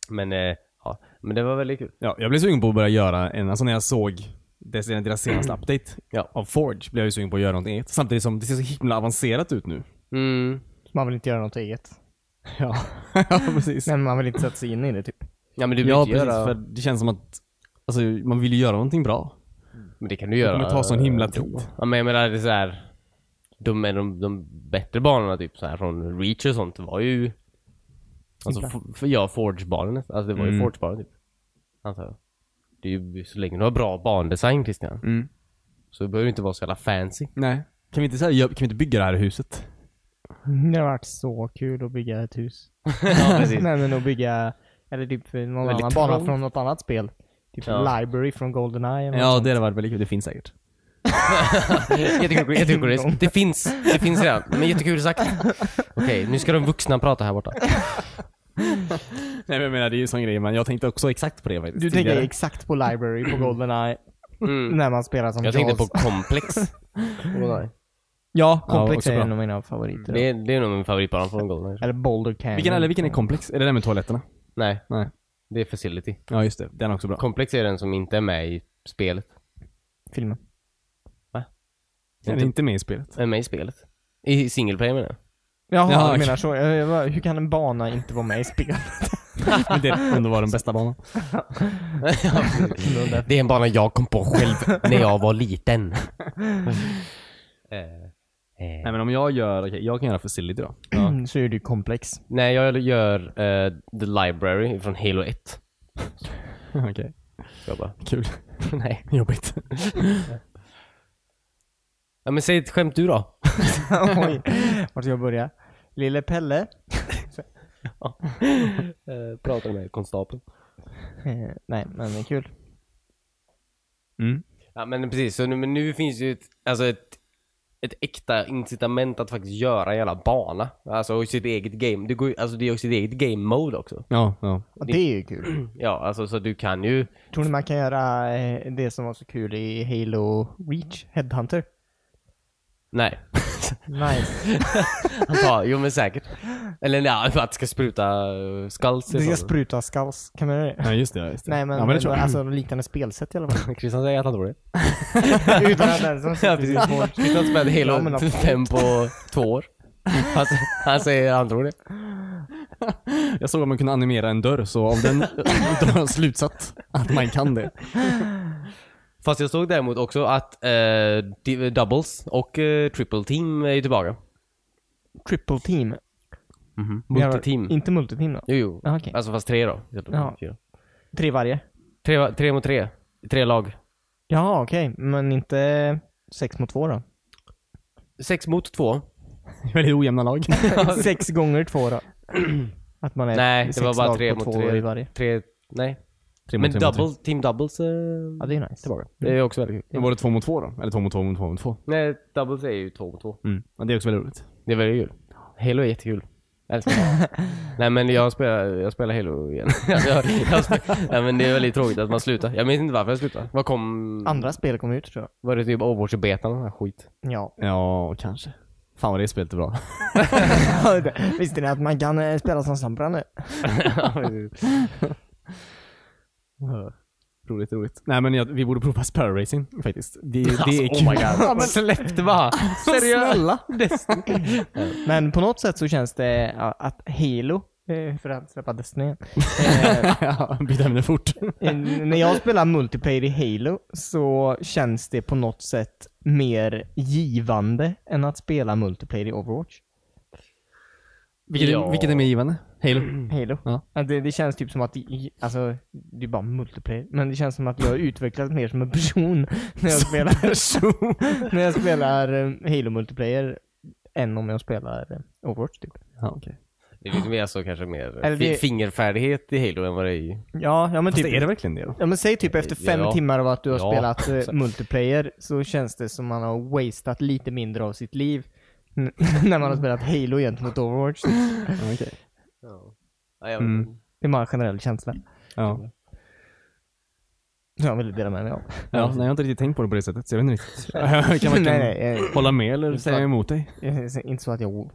C: Men, eh, ja. Men det var väldigt kul.
A: ja. Jag blev sugen på att börja göra en, alltså när jag såg dess- deras senaste update
C: Ja.
A: av Forge blev jag ju sugen på att göra något eget. Samtidigt som det ser så himla avancerat ut nu.
C: Mm.
B: Man vill inte göra något eget.
A: Ja, ja precis.
B: Nej, men man vill inte sätta sig in i det typ.
C: Ja men du vill
A: ja
C: inte
A: precis,
C: göra...
A: för det känns som att alltså, man vill ju göra någonting bra.
C: Men det kan du göra.
A: kommer ta sån himla
C: eh,
A: tid.
C: Ja men jag menar det är så här. De, är de, de bättre banorna typ så här från Reach och sånt var ju... Alltså, for, för, ja, Forge-banorna. Alltså det var ju
A: Mm.
C: Forge-banor typ. Antar jag. Det är ju så länge du har bra bandesign Christian.
A: Mm.
C: Så det behöver ju inte vara så jävla fancy.
A: Nej. Kan vi, inte, så här, gö- kan vi inte bygga det här huset?
B: Det har varit så kul att bygga ett hus.
C: ja precis.
B: Nej men att bygga, eller typ någon
C: Väldigt
B: annan bana
C: trångt.
B: från något annat spel. Typ
C: Ja.
B: Library från Goldeneye eller
A: Ja,
B: något
A: det hade varit väldigt kul. Det finns säkert.
C: jättekul, jättekul Chris. Det finns, det finns redan. Men jättekul sagt. Okej, nu ska de vuxna prata här borta.
A: Nej men jag menar, det är ju sån grej, men jag tänkte också exakt på det faktiskt.
B: sånt. Du tänker
A: tidigare.
B: exakt på Library på Goldeneye
C: Mm.
B: när man spelar som
C: Jag
B: Charles.
C: tänkte på komplex.
B: Ja,
A: Ja,
B: Complex
A: också
B: är
A: bra.
B: en av mina favoriter.
C: Det är, det är nog min favoritbana från Goldeneye.
B: Eller Boulder Canyon.
A: Vilken, eller vilken är komplex? Är det den med toaletterna?
C: Nej,
A: Nej.
C: det är Facility.
A: Ja just det, den är också bra.
C: Komplex är den som inte är med i spelet.
B: Filmen.
A: Den är inte med i spelet.
C: Är med i spelet. I single player menar jag.
B: Jaha,
A: Jaha,
B: du
A: okej.
B: menar så. Jag, jag, bara, hur kan en bana inte vara med i spel?
A: Men det ändå var den bästa banan.
C: Ja, precis. det är en bana jag kom på själv när jag var liten. Eh, eh,
A: Nej men om jag gör, okej, jag kan göra Facility då.
B: så är det ju komplex.
C: Nej, jag gör eh, The Library från Halo 1.
A: okej,
C: Ska jag bara.
A: kul.
C: Nej.
A: Jobbigt.
C: Ja, men säg ett skämt du då.
B: Oj, vart ska jag börja? Lille Pelle.
C: Pratar Eh, med konstapeln.
B: Eh, nej, men det är kul.
A: Mm.
C: Ja men precis, så nu, men nu finns ju ett, alltså ett, ett äkta incitament att faktiskt göra en jävla bana. Alltså och sitt eget game. Det, går, ju- alltså, det är ju sitt eget game mode också.
A: Ja, ja.
B: Och det är ju kul.
C: Ja, alltså så du kan ju...
B: Tror ni man kan göra eh, det som var så kul i Halo Reach, Headhunter?
C: Nej.
B: Nice.
C: Han tar, jo men säkert. Eller nej, för att det ska spruta eh, skulls.
B: Det ska spruta skulls. Kan man göra det?
A: Ja just det, ja, just det.
B: Nej men,
A: ja, men det tror jag.
B: alltså liknande spelsätt i alla fall.
C: Christian säger att han tror det.
B: Utan att den som
C: Ja
B: sitter i
C: precis.
B: Forge.
C: Christian har spelat
B: Ja, men
C: Halo
B: absolut.
C: 5 på två år. Han, han säger att han tror det.
A: Jag såg att man kunde animera en dörr, så av den drar jag slutsats att man kan det.
C: Fast jag såg däremot också att eh, di- doubles och eh, triple team är ju tillbaka.
B: Triple team. Vi har-
C: Multiteam.
B: Inte multiteam då?
C: Jo, jo.
B: Ja, Ah, okej.
C: Alltså fast tre då.
B: Ja.
C: Fyra.
B: Tre varje?
C: Tre, tre mot tre. Tre lag.
B: Jaha okej, men inte sex mot två då?
C: Sex mot två.
A: Väldigt ojämna lag.
B: sex gånger två då? Att man är
C: Nej, det
B: sex
C: var bara
B: lag
C: tre
B: på
C: mot
B: två
C: tre.
B: i varje.
C: Tre, nej.
A: Tre mot
C: Men
A: tre mot tre.
C: double, team doubles eh,
B: Ja det är nice.
C: tillbaka. Det är också väldigt kul.
A: Men var det två mot två då? Eller två mot två mot två mot två?
C: Nej, doubles är ju två mot två.
A: Mm. Ja, det är också väldigt roligt.
C: Det är väldigt kul. Halo är jättekul. Jag älskar det. nej men jag spelar, jag spelar Halo igen. Alltså, jag, jag spelar, nej men det är väldigt tråkigt att man slutar. Jag minns inte varför jag slutade. Vad kom...
B: Andra spel kom ut tror
C: Var det typ Overwatch-betan och här skit?
B: jag. Ja.
A: Ja, kanske. Fan vad det spelet är bra.
B: Visste ni att man kan eh, spela som Sampra nu?
A: roligt, roligt. Nej men jag, vi borde prova Sparrow Racing faktiskt. Det, det är
C: oh my
A: kul.
C: god.
B: Alltså-
C: Släpp det bara! Seriöst!
B: Snälla! Men på något sätt så känns det ja, att Halo, eh, för att släppa Destiny igen, eh,
A: ja, byt ämne fort.
B: N- När jag spelar multiplayer i Halo så känns det på något sätt mer givande än att spela multiplayer i Overwatch.
A: Vilket,
C: Ja.
A: vilket är mer givande? Halo?
B: Halo.
A: Ja.
B: Att Det, det känns typ som att, i- alltså, det är bara multiplayer, men det känns som att jag har utvecklats mer som en person när jag spelar, när jag spelar eh, Halo multiplayer än om jag spelar eh, Overwatch typ.
A: Ja, okej.
C: Det är liksom mer så kanske mer
B: Eller
C: fi-
B: det-
C: fingerfärdighet i Halo än vad det är i...
B: Ja, ja men
A: Fast
B: typ.
A: är det verkligen det då?
B: Ja men säg typ efter fem
C: Ja.
B: timmar av att du har
C: Ja.
B: spelat eh, multiplayer så känns det som man har wasted lite mindre av sitt liv. n- när man har spelat Halo gentemot Overwatch.
A: Ja, okej.
C: Ja. Ja, jag-
A: Mm.
B: Det är bara en generell känsla.
A: Ja.
B: Som jag ville dela med mig av.
A: Ja, nej, jag har inte riktigt tänkt på det på det sättet, så jag vet inte riktigt. Jag kan varken
B: nej, nej, eh,
A: hålla med eller säga emot dig.
B: Eh, så- Inte så att jag o-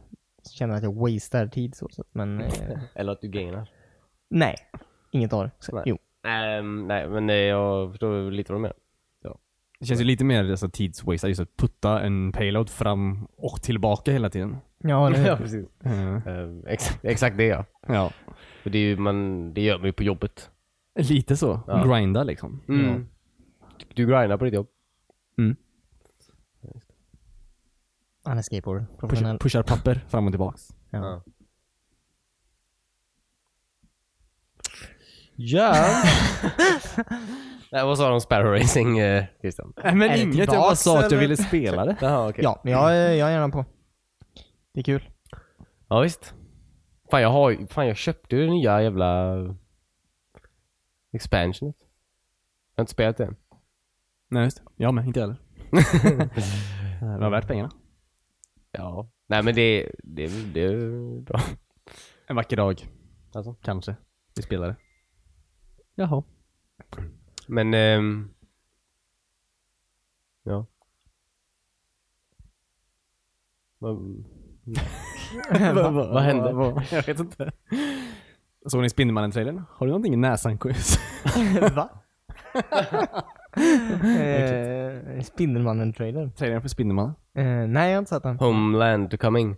B: känner att jag wastar tid så sett, men eh,
C: Eller att du gainar.
B: nej. Inget av det. Så-
C: Nej.
B: Jo.
C: Ehm, nej, men eh, jag förstår lite vad du menar.
A: Det känns ju lite mer alltså, tidswaste, just att putta en payload fram och tillbaka hela tiden.
B: Ja, eller hur?
C: precis.
A: Eh,
C: Ehm, exakt, exakt det ja.
A: Ja,
C: För det, är ju, man, det gör man ju på jobbet.
A: lite så.
C: Ja.
A: Grinda liksom.
C: Mm.
A: Ja.
C: Du- Du grindar på ditt jobb.
B: Han är skateboarder.
A: Pushar,
B: Professionell.
A: pushar papper fram och tillbaks.
B: Ja.
C: Ja. Nej, vad sa de om Sparrow Racing, eh, Christian?
A: Nej men
B: Är det
A: inget, jag bara
B: tillbaks,
A: sa att jag
B: eller?
A: ville spela det.
C: Jaha, okej.
B: Ja, men jag, eh, jag är gärna på. Det är kul.
C: Ja, visst. Fan jag, har, ju- fan jag köpte ju det nya jävla expansionet. Jag har inte spelat det än.
A: Nej just det. Jag med, inte heller. det var värt pengarna.
C: Ja. Nej men det, det, det är bra.
A: En vacker dag,
C: Alltså.
A: kanske. Vi spelar det. Jaha.
C: Men... ehm, ja. Vad,
A: vad,
C: vad hände?
A: jag vet inte. Såg ni Spindelmannen-trailern? Har du någonting i näsan Chris?
B: Va? eh, Spindelmannen-trailern.
A: trailern för Spindelmannen?
B: Eh, nej, jag har inte sett den.
C: Homeland coming.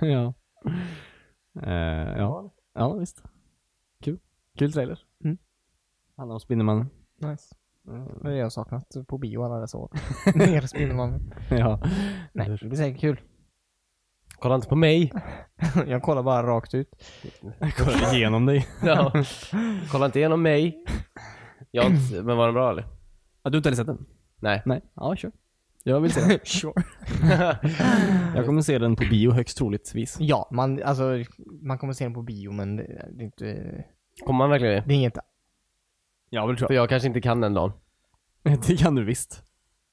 A: ja. Eh, ja. Ja, visst. Kul. Kul trailer.
B: Mm.
A: Handlar om Spindelmannen.
B: Nice. Det är det jag har saknat på bio alla dessa år. Mer Spindelmannen.
A: ja.
B: Nej, det blir säkert kul.
C: Kolla inte på mig.
B: jag kollar bara rakt ut.
A: Jag kollar igenom dig.
C: Ja. Kolla inte igenom mig. Jag har inte, men var den bra eller?
A: Ja, du har inte heller sett den?
C: Nej.
A: Nej. Ja, sure. Jag vill se den.
B: sure.
A: Jag kommer se den på bio högst troligtvis.
B: Ja, man, alltså, man kommer se den på bio men det, det, är inte,
C: Kommer man verkligen det?
B: det är inget...
A: Ja, väl
C: För jag kanske inte kan den dagen.
A: Det kan du visst.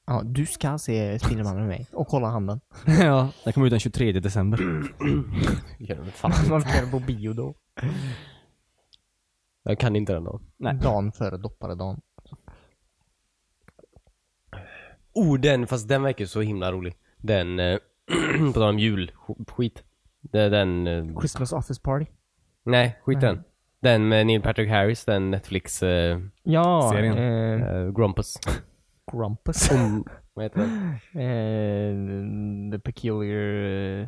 B: Ja, du ska se Spindelmannen med mig och kolla handen.
A: ja. Den kommer ut den 23 december.
C: Gör den fan.
B: Varför ska den på bio då?
C: Jag kan inte den dagen.
A: Nej.
B: Dagen före dopparedagen.
C: Oh den, fast den verkar så himla rolig. Den, eh, på tal om julskit. Den, den eh,
B: Christmas office party.
C: nej skit den. Den med Neil Patrick Harris, den Netflix, eh,
B: Ja,
A: Serien.
B: Eh,
C: eh, Grumpus.
B: Grumpus.
C: Vad heter den?
B: eh, the peculiar... eh,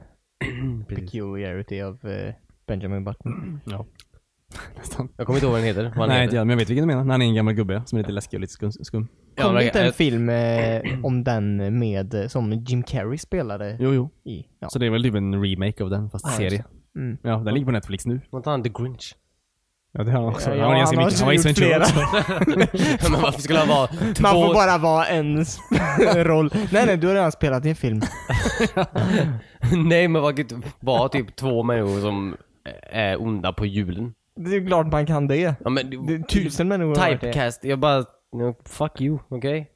C: Precis.
B: peculiarity of eh, Benjamin Button.
A: Nästan.
C: Jag kommer inte ihåg vad den heter. Vad den
A: Nej,
C: heter.
A: inte jag, men jag vet vilken du menar. När han är en gammal gubbe som är lite läskig och lite skum. skum.
C: Ja,
B: Kom det
C: men-
B: inte en
C: jag-
B: film eh, om den med, eh, som Jim Carrey spelade
A: Jo, jo.
B: i? Ja.
A: Så det är väl typ en remake av den, fast
B: Ja,
A: serie.
B: Mm.
A: Ja, den ligger på Netflix nu.
C: Vad heter han? The Grinch?
A: Ja, det har han också.
B: Ja,
A: han har
B: han
A: ganska mycket.
B: har
A: Han var i
B: gjort
A: St. Joe
B: flera.
A: också.
C: men varför skulle han vara
B: Man
C: två
B: får bara vara en s- roll. Nej nej, du har redan spelat i en film.
C: Nej men vad gud, var typ två människor som är onda på julen.
B: Det är klart man kan det.
C: Ja men
B: det är tusen människor har varit det.
C: typecast, jag bara, no, fuck you, okej?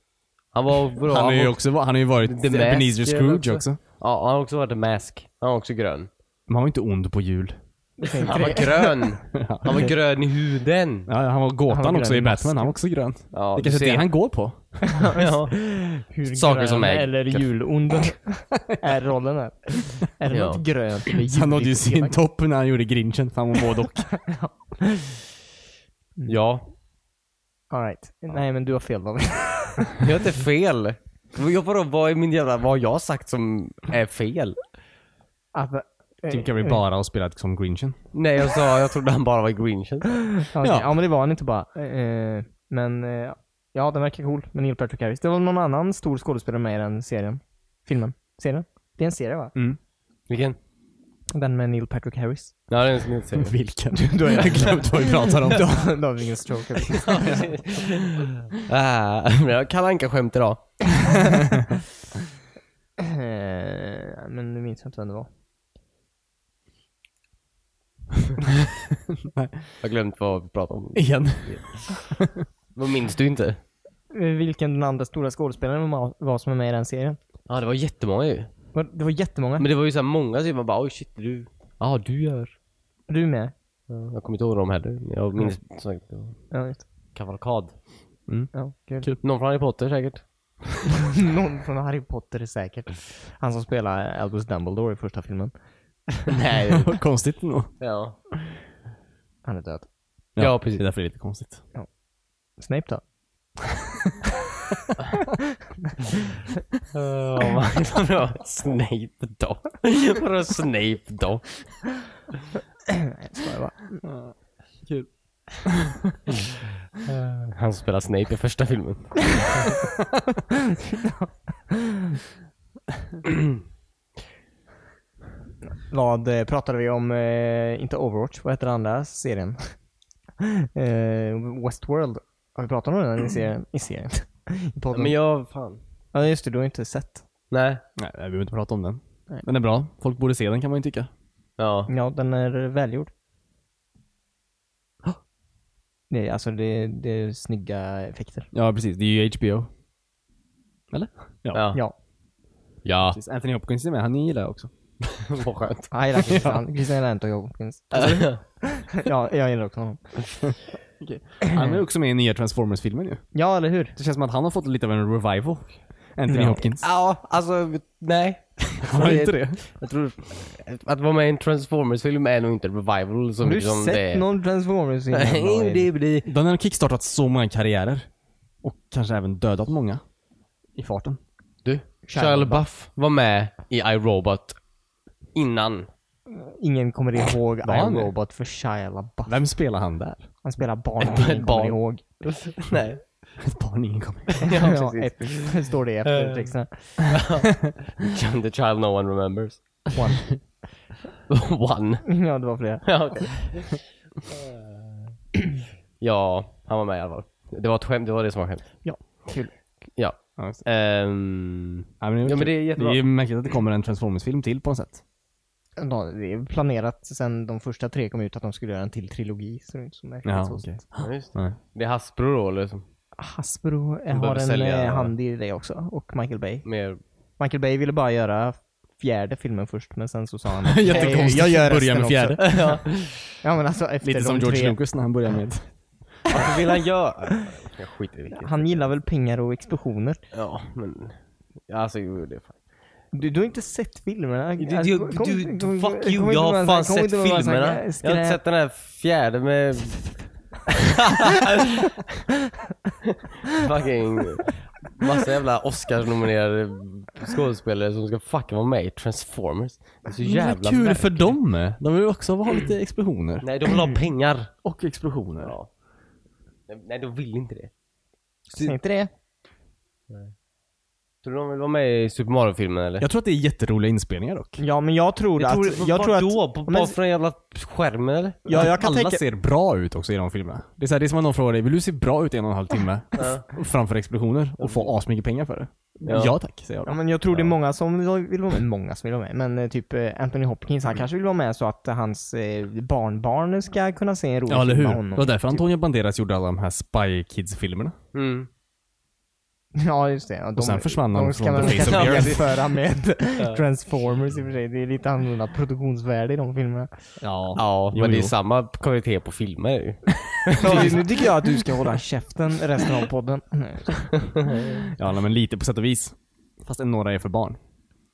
C: Han var bra.
A: Han har ju
C: var-
A: också han har ju varit
C: The Mask
A: Ebenezer
C: är
A: Scrooge
C: också.
A: också.
C: Ja, han har också varit en mask. Han var också grön.
A: Men han var inte ond på jul.
C: Han var grön! Han var grön i huden!
A: Ja, han var gåtan
B: grön
A: också
B: i
A: i Batman. Han var också grön.
C: Ja,
A: det
C: du
A: kanske är
C: ser.
A: det han går på.
C: ja.
B: Hur
C: Saker
B: grön
C: som är-
B: eller julond är rollen här. Är det
C: Ja.
B: något grönt eller
A: Han nådde ju
B: juligt?
A: sin topp när han gjorde grinchen. Fan vad både och.
C: ja.
B: All right. Nej men du har fel David.
C: Jag har inte fel. Jag bara, vad är min jävla, vad har jag sagt som är fel?
B: Att, eh,
A: Jim Carrey bara har spelat som grinchen.
C: Nej jag sa, jag trodde han bara var grinchen.
B: okej. ja. men det var han inte bara. Eh, men eh, Ja, den verkar cool med Neil Patrick Harris. Det var någon annan stor skådespelare med i den serien. Filmen. Serien. Det är en serie va?
C: Vilken?
B: Den med Neil Patrick Harris.
C: Ja, det är en som inte säger.
A: Vilken? Då har jag glömt vad vi pratar om.
B: Då då har vi ingen stroke.
C: ah, men jag kan anka skämt idag.
B: Eh, Men nu minns jag inte vem det var.
C: Jag har glömt vad vi pratade om.
A: Igen.
C: Vad minns du inte?
B: Eh, Vilken den andra stora skådespelaren var- var som är med i den serien.
C: Ja, det var jättemånga ju.
B: Var- Det var jättemånga.
C: Men det var ju så här många som man bara oj shit, du. Ja, ah, du gör.
B: Är du med?
C: Ja, Jag kommer inte ihåg dem heller. men Jag minns som sagt det var
B: Ja, just det.
C: kavalkad.
B: Ja, kul.
C: Någon från Harry Potter säkert.
B: Någon från Harry Potter säkert. Han som spelar Albus Dumbledore i första filmen.
C: Nej.
A: konstigt nog.
C: ja.
B: Han är död.
C: Ja, precis.
A: Det är därför det är lite konstigt.
B: Snape då?
C: Oh, vadå Snape då? Vadå Snape då?
B: Nej, jag skojar bara.
A: Kul.
C: Han som spelar Snape i första filmen.
B: Vad eh, pratade vi om? Eh, inte Overwatch, vad heter den andra serien? eh, Westworld. Har vi pratat om den i serien? I serien? I podden?
C: Mm. Men jag, fan.
B: Ja just det, du har inte sett.
C: Nej.
A: Nej, vi behöver inte prata om den.
B: Nej.
A: Den är bra. Folk borde se den kan man ju tycka.
C: Ja.
B: Ja, den är välgjord. Det är, alltså det, det är snygga effekter.
A: Ja, precis. Det är ju HBO. Eller?
C: Ja.
B: Ja.
C: Ja.
A: Precis. Anthony Hopkins är med. Han gillar jag också.
C: Vad skönt.
B: Ah, jag gillar Christian. Christian gillar inte Joe Hopkins.
C: Alltså,
B: Ja, jag gillar också honom.
A: Han är också med i nya Transformers-filmen ju.
B: Ja, eller hur?
A: Det känns som att han har fått lite av en revival. Anthony
B: Ja.
A: Hopkins.
C: ja, alltså nej.
A: Har inte det?
C: Jag tror, att vara med i en Transformers-film är nog inte revival så
B: Har du
C: mycket som
B: sett
C: liksom det är.
B: någon Transformers innan?
C: Nej, det blir...
A: Den har kickstartat så många karriärer. Och kanske även dödat många. I farten.
C: Du, Shia LaBeouf var med i iRobot innan.
B: Ingen kommer ihåg
A: Vad har han
B: I,
A: nu?
B: Robot för Shia LaBeouf.
A: Vem spelar han där?
B: Han spelar barn
C: Ett
B: och ingen
C: barn.
B: kommer ihåg.
C: Nej.
A: Ett barn ingen kommer
C: Ja,
B: Ja,
C: precis.
B: ett, står det efter
C: Eh.
B: texten.
C: The child no one remembers.
B: One.
C: One.
B: Ja, det var flera.
C: Ja, okej. ja, han var med i alla fall. Det var ett skämt, det var det som var skämt.
B: Ja, kul.
C: Ja.
A: Ja, just
C: Ehm,
A: Ja, men,
C: Ja, men det är jättebra.
A: ju märkligt att det kommer en Transformers-film till på något sätt.
B: Ja, det är planerat sen de första tre kom ut att de skulle göra en till trilogi. Så det är inte så märkligt.
A: Ja,
B: så.
A: okej. Nej.
C: det. är Hasbro då liksom.
B: Hasbro eh, har
C: behöver
B: en
C: sälja-
B: eh, hand i det också. Och Michael Bay.
C: Mer...
B: Michael Bay ville bara göra fjärde filmen först, men sen så sa han
A: Jättekonstigt
B: "Jag gör
A: att börja
B: resten
A: med fjärde.
B: Också. Ja, men alltså efter
A: Lite
B: de
A: som George
B: tre.
A: Lucas när han började med...
C: Varför vill han göra? Jag skiter i vilket.
B: Han gillar väl pengar och explosioner.
C: Ja, men... Alltså, jo, det är fan.
B: Du, du har inte sett filmerna.
C: Du,
B: Alltså,
C: du,
B: kom-
C: du,
B: kom- kom
C: fuck
B: inte
C: you,
B: med
C: jag
B: en
C: har
B: massa-
C: fan
B: kom
C: sett
B: inte med en massa
C: filmerna. Jag har
B: skräp.
C: inte sett den här fjärde med... Fucking massa jävla Oscars-nominerade skådespelare som ska fucking vara med i Transformers. Det är så jävla
A: kul
C: märkligt.
A: för dem! De vill ju också ha lite explosioner.
C: Nej, de vill ha pengar.
A: Och explosioner.
C: Ja. Nej, de vill inte det.
B: Säg inte det.
C: Tror du de vill vara med i Super Mario-filmen eller?
A: Jag tror att det är jätteroliga inspelningar dock.
B: Ja, men jag tror att... jag tror
C: Var
B: att
C: då? På,
B: men-
C: bara från jävla skärmen eller?
B: ja, jag kan
A: Alla
B: tänka...
A: ser bra ut också i de filmerna. Det är, så här, det är som att någon frågar dig, vill du se bra ut i en och en halv timme? Och Framför explosioner och få asmycket pengar för det.
C: Ja.
A: Ja, tack, säger jag
B: Ja,
A: då.
B: men jag tror det är många som vill vara med. Många som vill vara med. Men eh, typ eh, Anthony Hopkins,
A: Mm.
B: han kanske vill vara med så att hans eh, barnbarn ska kunna se en rolig
A: Ja, eller hur?
B: film med
A: Det
B: honom.
A: var därför Antonio Banderas gjorde alla de här Spy Kids-filmerna.
C: Mm.
B: Ja, just det. Ja, de,
A: sen försvann han
B: de ska
A: från
B: man
A: the face of the
B: kanske
A: earth.
B: jämföra med Transformers i och för sig. Det är lite annorlunda produktionsvärde i de filmerna.
A: Ja.
C: Ja,
A: Jo,
C: men det är
A: jo.
C: samma kvalitet på filmer ju.
B: nu tycker jag att du ska hålla käften resten av podden. Nej.
A: Ja, nej, men lite på sätt och vis. Fast några är för barn.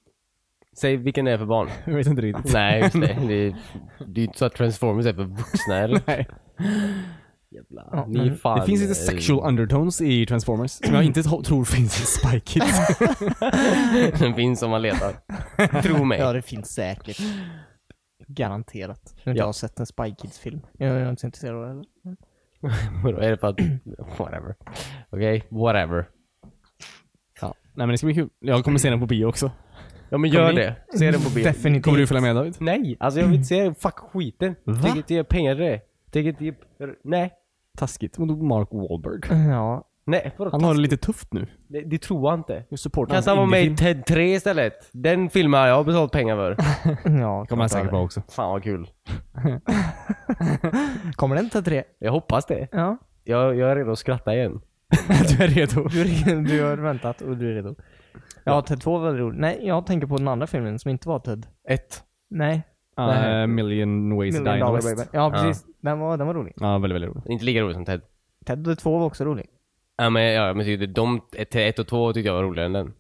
C: Säg vilken det är för barn.
A: Jag vet inte riktigt.
C: Nej, just det. Det är, det är ju inte så att Transformers är för vuxna eller?
A: Nej.
C: Jävla,
B: Ja,
C: ni är
B: men
C: fan,
A: Det finns lite
C: eh,
A: sexual undertones i Transformers som jag inte to- tror finns i Spy Kids.
C: Den finns om man letar. Tro mig.
B: Ja, det finns säkert. Garanterat. Nu har inte
C: Ja.
B: jag sett en Spy Kids-film. Jag är inte så intresserad av det heller.
C: Vadå, är det för att... Whatever. Okej, whatever.
A: Ja. Nej men det ska bli kul. Jag kommer se den på bio också.
C: Ja men
A: gör
C: gör
A: det.
C: det. Se den på bio.
B: Definitivt.
A: Kommer du följa med David?
C: Nej, alltså jag vill inte se den. Fuck skiten. Tänker inte ge pengar till det. Tänker inte ge... Nej.
A: Taskigt mot Mark Wahlberg.
B: Ja.
C: Nej, vadå?
A: Han har det lite tufft nu.
C: Det, det tror jag inte.
A: Jag supportar
C: Kan inte han vara med i TED 3 istället? Den filmen har jag betalt pengar för.
B: ja
A: kommer han
B: klart.
A: säkert vara också.
C: Fan vad kul.
B: Kommer den ta tre?
C: Jag hoppas det.
B: Ja.
C: Jag, jag är redo att skratta igen.
A: du är redo.
B: Du, är- du har väntat och du är redo. Ja, Ted 2 var väldigt rolig. Nej, jag tänker på den andra filmen som inte var Ted.
C: Ett.
B: Nej.
A: Uh, million ways to die
B: Million
A: in the
B: Dollar
A: West.
B: Baby. Ja, precis. Den, var, den var rolig.
A: Ja, väldigt, väldigt roligt.
C: Inte lika roligt som TED.
B: Ted 2 var också rolig.
C: Ja men, ja, men tyckte de, TED 1 och 2 tyckte jag var roligare än den.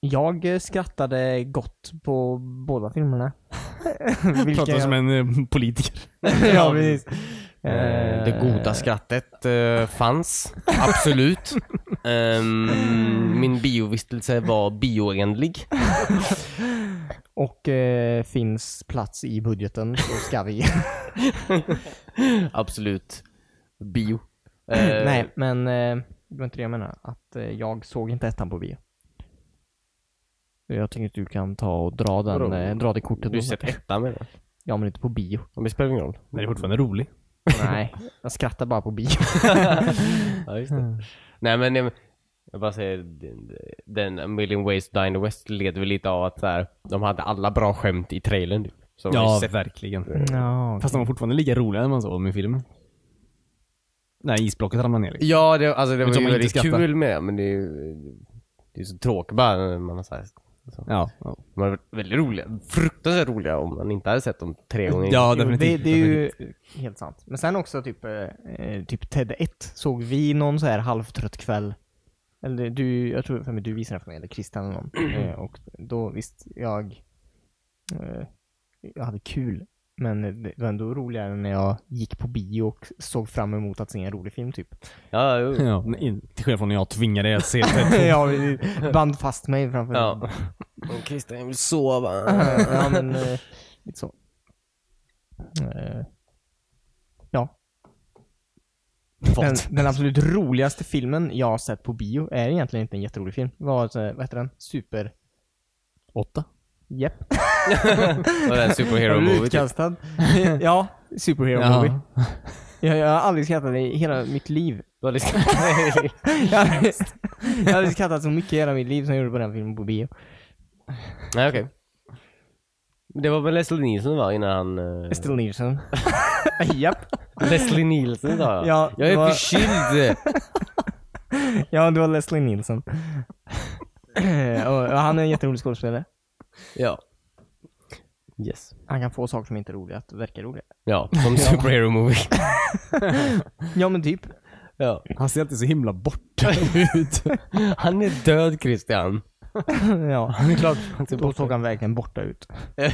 B: Jag eh, skrattade gott på båda filmerna. Vilka
A: Pratar som
B: jag...
A: en eh, politiker.
B: ja, precis.
C: Eh, Det
B: Eh,
C: goda skrattet eh, fanns, absolut. Ehm, min biovistelse var bioändlig.
B: Och eh, finns plats i budgeten så ska vi.
C: Absolut. Bio. Eh,
B: Nej, men eh, det var inte det jag menar. Att eh, jag såg inte ettan på bio. Jag tycker att du kan ta och dra, den,
C: Vadå?
B: eh, dra det kortet.
C: Du har
B: och så.
C: sett ettan menar jag.
B: Ja, men inte på bio.
C: Men Det spelar ingen roll.
A: Men det är fortfarande rolig.
B: Nej, jag skrattar bara på bio.
C: Ja, just det. Nej men jag, jag bara säger, den- den A Million Ways to Die in the West leder väl lite av att så här, de hade alla bra skämt i trailern. typ. Så de har ju
A: Ja,
C: sett-
A: verkligen.
B: Ja,
A: Fast de var fortfarande lika roliga när man såg dem i filmen. Nej, isblocket ramlade ner. liksom.
C: ja det, alltså, det
A: Men
C: var
A: som
C: ju
A: inte
C: väldigt
A: skrattar.
C: kul med det, men det är ju det är så tråkigt bara när man har så här, så.
A: Ja, ja.
C: De hade varit väldigt roliga, fruktansvärt roliga om man inte hade sett dem tre gånger
A: Ja,
B: Jo, det,
A: definitivt.
B: det är ju helt sant. Men sen också typ, eh, eh, typ TED 1 såg vi någon så här halvtrött kväll. Eller du, jag tror för mig du visade den för mig, eller Christian eller någon. Eh, och då visst, jag, eh, jag hade kul. Men det var ändå roligare när jag gick på bio och såg fram emot att se en rolig film typ.
C: Ja, jo.
A: Ja, nej, till skillnad från när jag tvingade dig att se det.
B: jag band fast mig framför
C: ja. Men Christian vill sova.
B: ja men, eh, lite så. Eh, ja. Den, den absolut roligaste filmen jag har sett på bio är egentligen inte en jätterolig film. Det var, eh, vad heter den? Super...
A: Åtta.
B: Japp.
C: Och den superhero movie typ.
B: Utkastad. ja, Superhero
A: Ja.
B: Movie. Jag, jag har aldrig skrattat i hela mitt liv.
C: Du har liksom- Nej.
B: Jag har jag har aldrig skrattat så mycket i hela mitt liv som jag gjorde på den filmen på bio.
C: Nej okej. Det var väl Leslie Nielsen va, innan han... eh,
B: Still Nielsen. Japp.
C: Leslie Nielsen sa jag.
B: Ja,
C: jag är
B: det var-
C: förkyld.
B: Ja, det var Leslie Nielsen. och, och han är en jätterolig skådespelare.
C: ja. Yes.
B: Han kan få saker som inte är roliga att verka roliga.
C: Ja, som superhero movie.
B: Ja men typ.
C: ja.
A: Han ser alltid så himla borta ut.
C: Han är död Christian.
B: ja. Typ
C: Det är klart. Han ser
B: Då
C: bort.
B: såg han verkligen borta ut.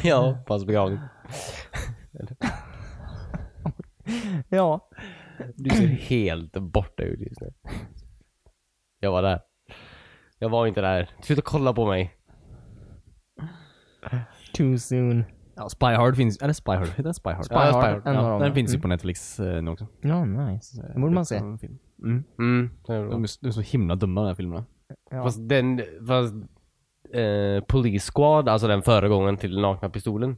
C: ja, på hans begravning.
B: Ja.
C: Du ser helt borta ut just nu. Jag var där. Jag var inte där. Sluta kolla på mig.
B: Too soon.
A: ja, Spy Hard finns Är det Spy Hard? Heter den Spy Hard?
B: Spy Hard, en av
A: Ja,
B: dem,
A: den
B: ja.
A: finns ju på Netflix eh, nu också.
B: Ja, nice. Det borde man se.
A: Mm. Mm.
C: Mm.
A: De är, de är så himla dumma de här filmerna.
B: Ja.
C: Fast den, fast eh, Police Squad, alltså den föregången till Nakna Pistolen.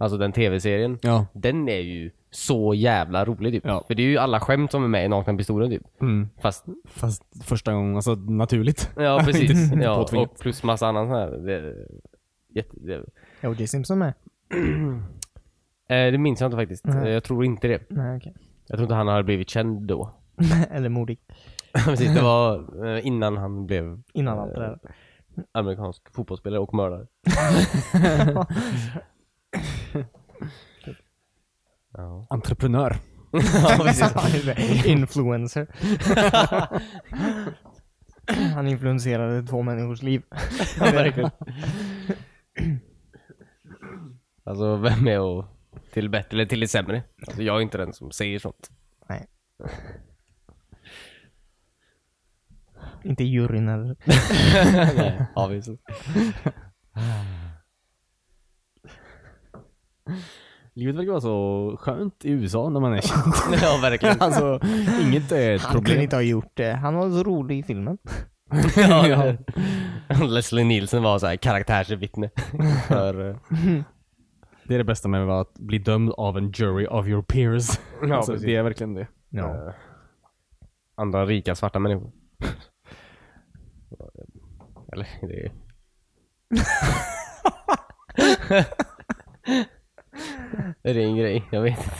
C: Alltså den tv-serien.
A: Ja.
C: Den är ju så jävla rolig typ.
A: Ja.
C: För det är ju alla skämt som är med i Nakna Pistolen typ.
A: Mm.
C: Fast,
A: Fast första gången, alltså naturligt.
C: ja precis.
A: Inte
C: ja,
A: påtvingat.
C: och plus massa annan sån här. Det, jätte, det,
B: Ja, O.J. Simpson med.
C: eh, det minns jag inte faktiskt.
B: Nej.
C: Eh, Jag tror inte det.
B: Nej, okej.
C: Jag tror inte han hade blivit känd då.
B: Eller modig.
C: precis, det var eh, innan han blev
B: Innan allt det där.
C: amerikansk fotbollsspelare och mördare. ja.
A: Entreprenör.
C: ja, precis.
B: Influencer. Han influenserade två människors liv.
C: Ja, verkligen. Alltså vem är och till det bättre eller till det sämre? Alltså, jag är inte den som säger sånt.
B: Nej. Inte juryn heller.
C: Nej, obviously.
A: Livet verkar vara så skönt i USA när man är
C: ja, verkligen.
A: Alltså, inget är ett
B: Han kunde
A: problem.
B: inte ha gjort det. Han var så rolig i filmen.
C: Ja,
A: Ja.
C: Leslie Nielsen var så här karaktärsvittne för... eh,
A: Det är det bästa med att bli dömd av en jury of your peers.
C: Ja,
A: alltså,
C: precis.
A: det är verkligen det.
B: Ja.
C: eh, andra rika svarta människor. Eller, det är... är det en grej? Jag vet inte.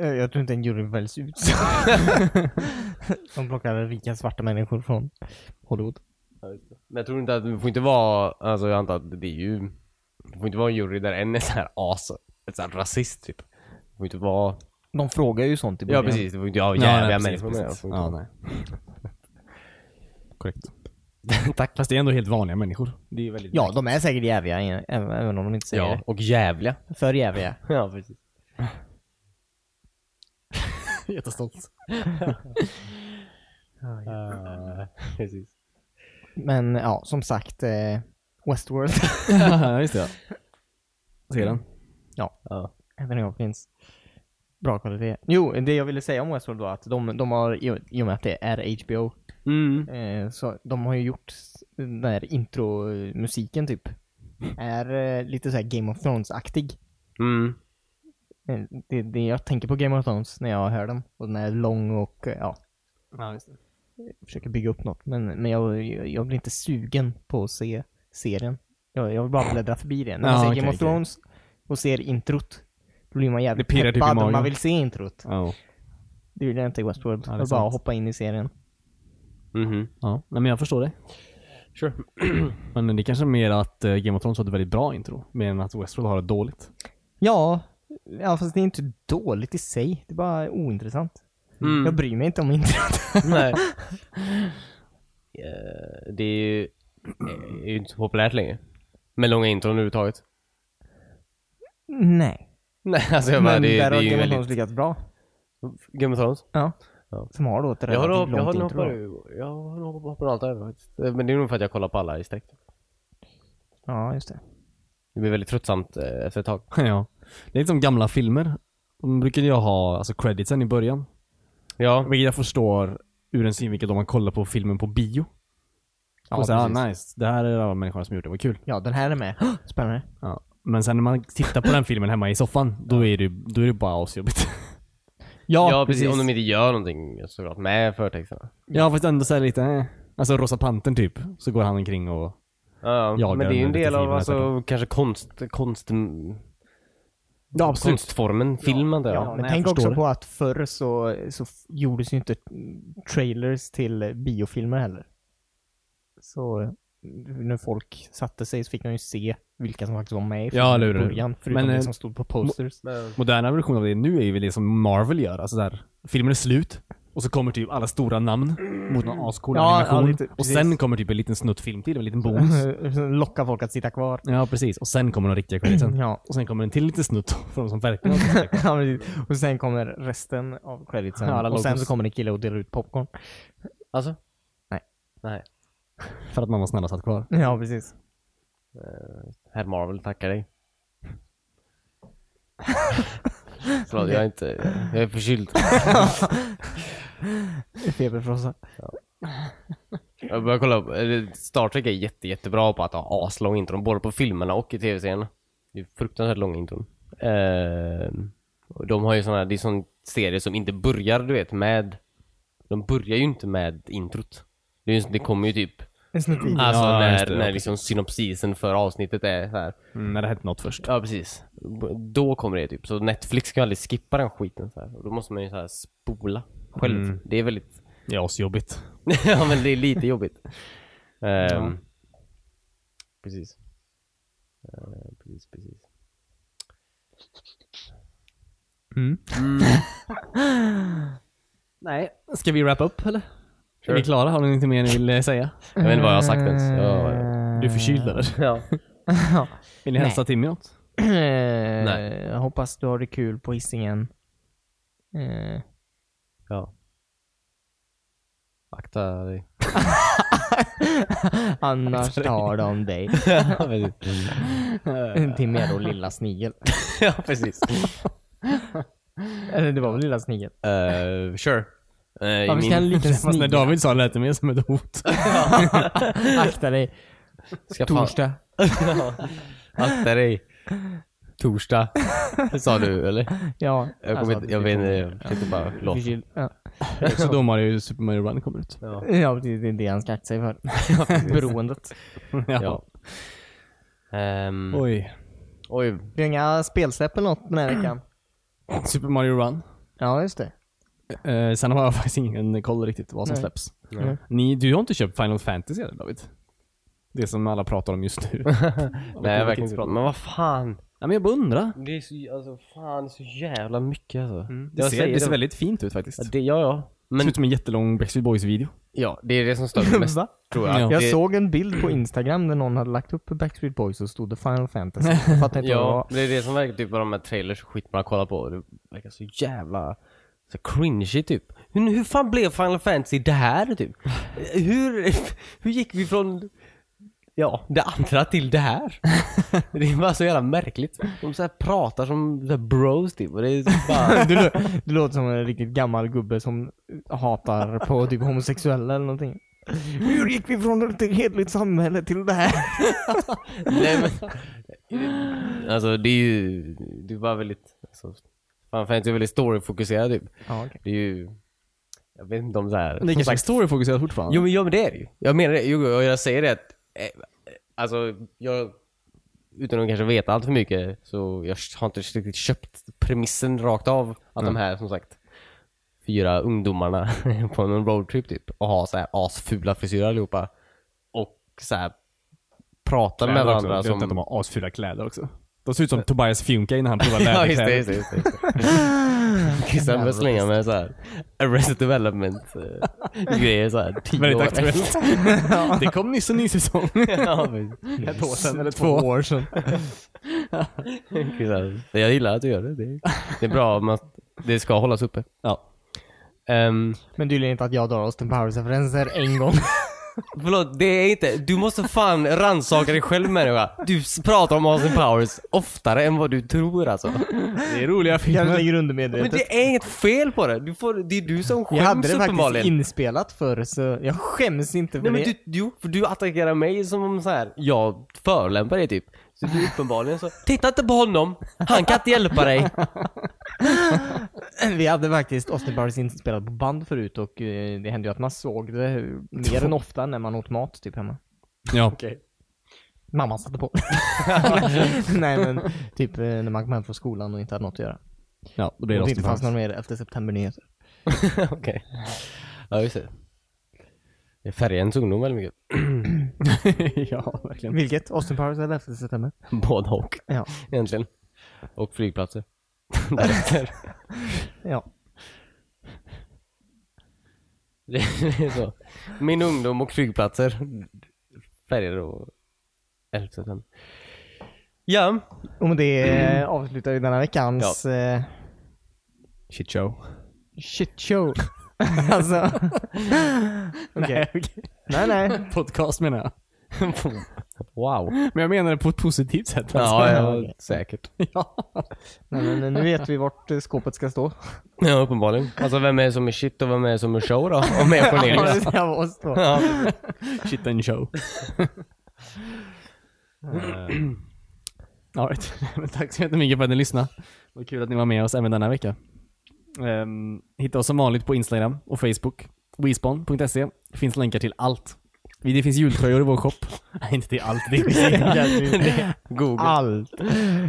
B: Eh, Jag tror inte en jury väljs ut. De plockar rika svarta människor från Hollywood.
C: Men jag tror inte att, det får inte vara, alltså jag antar att det är ju, det får inte vara en jury där en är så här as, ett så här rasist typ. Det får inte vara,
B: De frågar ju sånt i
C: ja
B: början.
C: precis, det får inte vara jävliga
A: nej, precis,
C: människor med. alltså.
A: precis.
C: Det får inte
A: Ja,
C: vara-
A: nej. Korrekt.
C: Tack.
A: Fast det är ändå helt vanliga människor. Det är ju väldigt...
B: Ja, de är säkert jäviga ä- även om de inte säger
C: Ja, och jävliga.
B: det. För jäviga.
C: Ja, precis.
A: jättestolt. Eh.
C: precis.
B: Men ja, som sagt. Eh, Westworld.
A: ja, just det. Ja. Ser den.
C: Ja.
B: Anthony Hopkins. Bra kvalitet. Jo, det jag ville säga om Westworld var att de, de har, i i och med att det är HBO,
C: Mm.
B: eh, så de har ju gjort s- den här intromusiken typ. Är eh, lite så här Game of Thrones-aktig.
C: Mm.
B: Eh, Det, det jag tänker på Game of Thrones när jag hör den. Och den är lång och eh, ja,
A: Ja, just det.
B: försöker bygga upp något. Men, men jag, jag, jag blir inte sugen på att se serien. Jag, jag vill bara bläddra förbi det. När man
A: Ja,
B: ser
A: okej,
B: Game of
A: okej.
B: Thrones och ser introt, då blir man jävligt
A: Det pirrar typ i
B: peppad.
A: magen.
B: man vill se introt.
A: Ja.
B: Det vill jag inte i Westworld.
A: Ja, det är
B: jag vill bara
A: sant.
B: hoppa in i serien.
C: Mhm.
A: ja. Nej, men jag förstår det.
C: Sure.
A: Men det är kanske mer att eh, Game of Thrones har ett väldigt bra intro. Mer än att Westworld har ett dåligt.
B: Ja, ja fast det är inte dåligt i sig. Det är bara ointressant. Jag
C: Mm.
B: bryr mig inte om introt.
C: Nej. Eh, det är ju, är ju inte så populärt längre. Med långa intron överhuvudtaget.
B: Nej.
C: Nej, alltså jag
B: Men
C: bara, det, det
B: där
C: är
B: har
C: ju
B: Game of
C: väldigt...
B: Thrones lyckats bra.
C: Game of Thrones?
B: Ja.
C: Ja.
B: Som har då ett
C: Jag har nog
B: relativt
C: jag har
B: långt
C: nog
B: intro.
C: hoppat
B: då.
C: över- jag har nog hoppat över allt det här faktiskt. Eh, Men det är nog för att jag kollar på alla i sträck.
B: Ja, just det.
C: Det blir väldigt tröttsamt eh, efter ett tag.
A: ja. Det är lite som gamla filmer. De brukar ju ha alltså, creditsen i början.
C: Ja,
A: Vilket jag förstår ur en synvinkel om man kollar på filmen på bio.
B: Ja,
A: och så, ah,
B: precis.
A: nice. Det här är alla människorna som gjort det, vad kul.
B: Ja, den här är med. Spännande.
A: Ja. Men sen när man tittar på den filmen hemma i soffan, då är det, då är det bara asjobbigt.
C: ja, precis. Om de inte gör någonting såklart med förtexterna.
A: Ja fast ändå såhär lite, eh. Alltså Rosa Pantern typ, så går han omkring och...
C: Ja,
A: Jagar
C: men det är ju en
A: den
C: del av
A: detektiven,
C: alltså, kanske konst, konst,
A: Ja
C: konstformen, film antar jag.
B: Ja,
A: Ja,
B: men
A: nej,
B: tänk
A: jag
B: också
A: förstår
B: på att förr så, så f- gjordes ju inte mm, trailers till eh, biofilmer heller. Så eh, när folk satte sig så fick man ju se vilka som faktiskt var med i filmen
A: Ja, eller
B: i
A: hur?
B: början. Förutom
A: Men,
B: det
A: eh,
B: som stod på posters.
A: Moderna version av det nu är ju väl det som Marvel gör, alltså där Filmen är slut, och så kommer typ alla stora namn mot någon ascool
B: Ja,
A: animation.
B: ja, lite,
A: och
B: precis.
A: sen kommer typ en liten snutt film till, en liten bonus.
B: Locka folk att sitta kvar.
A: ja precis, och sen kommer de riktiga creditsen.
B: Ja.
A: Och sen kommer en till liten snutt för de som verkligen har
B: Ja, precis. och sen kommer resten av creditsen.
A: Ja, alla
B: och sen
A: logos.
B: så kommer en kille och delar ut popcorn.
C: Alltså?
B: Nej.
C: Nej.
A: För att mamma snälla satt kvar.
B: Ja, precis.
C: Herr Marvel tackar dig. Förlåt, jag är inte, jag är förkyld.
B: Feberfrossa.
C: Jag börjar kolla upp, eller Star Trek är jätte, jättebra på att ha aslång intron, både på filmerna och i tv-serierna. Det är fruktansvärt långa intron. Ehm, och de har ju såna, det är sån serie som inte börjar du vet med, de börjar ju inte med introt. Det, är ju, det kommer ju typ,
B: En snutt i.
C: alltså
A: Ja, just
C: när,
A: det, ja,
C: när
A: precis.
C: liksom synopsisen för avsnittet är så här.
A: Mm, när det hände något först.
C: Ja precis. B- Då kommer det typ, så Netflix kan ju aldrig skippa den skiten så här. Och Då måste man ju så här spola själv.
A: Mm.
C: Det är väldigt
A: Det är asjobbigt.
C: ja men det är lite jobbigt. Ehm, Precis. Ehm, precis, precis.
A: Mm. Nej, ska vi wrap up eller?
C: Sure.
A: Är vi klara? Har ni inte mer ni vill eh, säga?
C: Jag vet inte vad jag har sagt ens. Jag,
B: Eh,
A: Du är förkyld eller?
C: ja.
A: Vill ni hälsa Timmy något?
B: Nej. Jag Eh, hoppas du har det kul på Hisingen. Eh,
C: ja. Akta dig.
B: Annars tar de dig.
C: ja, precis.
B: Till mer och Lilla Snigel.
C: ja, precis.
B: Eller det var väl Lilla Snigel?
C: Eh, sure. Eh, i
B: Ja, vi ska ha en liten
A: Fast när
B: snigel.
A: David sa det lät det mer som ett hot.
B: Akta dig.
C: ska fan-
B: Torsdag.
C: Akta dig. Torsdag. Sa du, eller?
B: Ja.
C: Jag,
B: alltså,
C: kommer inte, jag vet inte. Jag försökte bara låta.
B: Förkyld. Ja.
A: Det är också då Mario Super Mario Run kommer ut.
C: Ja.
B: ja, precis. Det är det han ska akta sig för. Beroendet.
C: ja. Ehm, oj.
A: Oj.
B: Det är inga spelsläpp eller något den här veckan.
A: Super Mario Run.
B: Ja, just det.
A: Eh, sen har jag faktiskt ingen koll riktigt vad som
B: Nej.
A: släpps.
B: Nej.
A: Ni, du har inte köpt Final Fantasy eller David? Det som alla pratar om just nu.
C: Nej, jag
A: verkar
C: verkar
A: inte
C: inte
A: bra.
C: Men vad fan.
A: Nej men jag bara undrar.
C: Det är så, alltså, fan, så jävla mycket alltså.
A: Det,
C: Jag
A: ser,
C: säger
A: det ser väldigt fint ut faktiskt.
C: Ja, det, ja, ja.
A: Det
C: Men
A: ser ut som en jättelång Backstreet Boys-video.
C: ja, det är det som stör mig mest
B: Va?
C: tror jag.
A: Ja.
C: Det,
B: Jag såg en bild på Instagram där någon hade lagt upp Backstreet Boys och stod det Final Fantasy. Jag fattar inte vad det
C: Ja,
B: var.
C: det är det som verkar typ vara de här trailers och skit man har kollat på. Det verkar så jävla så cringy typ. Hur, hur fan blev Final Fantasy det här typ? Hur, hur gick vi från ja, det andra till det här? Det är bara så jävla märkligt. De så här pratar som så här bros typ och det är så bara...
B: Du, lå- du låter som en riktigt gammal gubbe som hatar på typ homosexuella eller någonting. Hur gick vi från ett hedligt samhälle till det här?
C: Nej, men, alltså det är ju, det är bara väldigt, alltså, Final Fantasy är väldigt storyfokuserad typ.
B: Ja, okej.
C: Det är ju, jag vet inte om så här.
A: Det är kanske storyfokuserat fortfarande.
C: Jo men, jo men det är det ju. Jag menar det. Jo, och jag säger det att, eh, alltså jag, utan att kanske veta allt för mycket, så jag har inte riktigt köpt premissen rakt av att de här som sagt fyra ungdomarna på en roadtrip typ och har så här asfula frisyrer allihopa och så här pratar med varandra
A: som...
C: som...
A: De har asfula kläder också. De ser ut som Tobias Fünke när han provar
C: Ja just
A: läderkläder.
C: det, just det, just det, just det. Christian börjar slänga med såhär Arrested development eh, grejer såhär tio
A: Väldigt
C: år
A: aktuellt. det kom nyss en ny säsong.
C: Ja, precis.
A: Ett år sedan eller
B: Två år sedan.
C: Kul. Jag gillar att du gör det. Det är, det är bra, men att det ska hållas uppe.
A: Ja.
C: Ehm,
B: Men tydligen inte att jag drar Austin Powers-referenser en gång.
C: förlåt, det är inte... Du måste fan rannsaka dig själv människa. Du s- pratar om Austin Powers oftare än vad du tror alltså.
A: Det är roliga
B: Kanske
A: filmer.
B: ligger
C: Men
B: undermedvetet.
C: det är inget fel på det. Du får, det är du som
B: Jag hade
C: skäms
B: det faktiskt
C: uppenbarligen.
B: inspelat förr så jag skäms inte för
C: Nej men
B: det.
C: du, jo, för du attackerar mig som om så här. jag förolämpar dig typ. Så du uppenbarligen så, titta inte på honom, han kan inte hjälpa dig.
B: Vi hade faktiskt Austin Powers inspelat på band förut och eh, det hände ju att man såg det mer än ofta när man åt mat typ hemma.
A: Ja.
B: Mamma satte på. Nej men typ eh, när man kom hem från skolan och inte hade något att göra.
A: ja, då blir
B: Och
A: det
B: det inte
A: Austin Powers.
B: fanns någon mer 11 september-nyheter.
C: Okej. Ja just det. Det är färgens ungdom väldigt mycket.
A: ja, verkligen.
B: Vilket? Austin Powers eller 11 september?
C: Både och.
B: Ja.
C: egentligen. Och flygplatser. Därefter.
B: Ja.
C: Det är så. Min ungdom och flygplatser. Färger och 11 september. Ja.
B: Och med det
C: Mm.
B: eh, avslutar vi denna veckans eh,
A: Shit show.
B: shitshow. alltså. Okej. Nej nej.
A: Podcast menar jag.
C: wow.
A: Men jag menar det på ett positivt sätt. alltså.
C: Ja,
B: okej.
C: ja, säkert.
A: ja.
B: Nej, men nu vet vi vart eh, skåpet ska stå.
C: Ja, uppenbarligen. Alltså vem är det som är shit och vem är det som är show då? Om jag är Cornelius.
B: Det där var oss då.
C: Ja.
A: Shit and show. Alright. Men Tack så jättemycket för att ni lyssnade. Det var kul att ni var med oss även denna vecka. Ehm, hitta oss som vanligt på Instagram och Facebook. Wespon.se. Det finns länkar till allt. Det finns jultröjor i vår shop. Nej, inte till allt. Det Ah. är
C: Google.
B: Allt.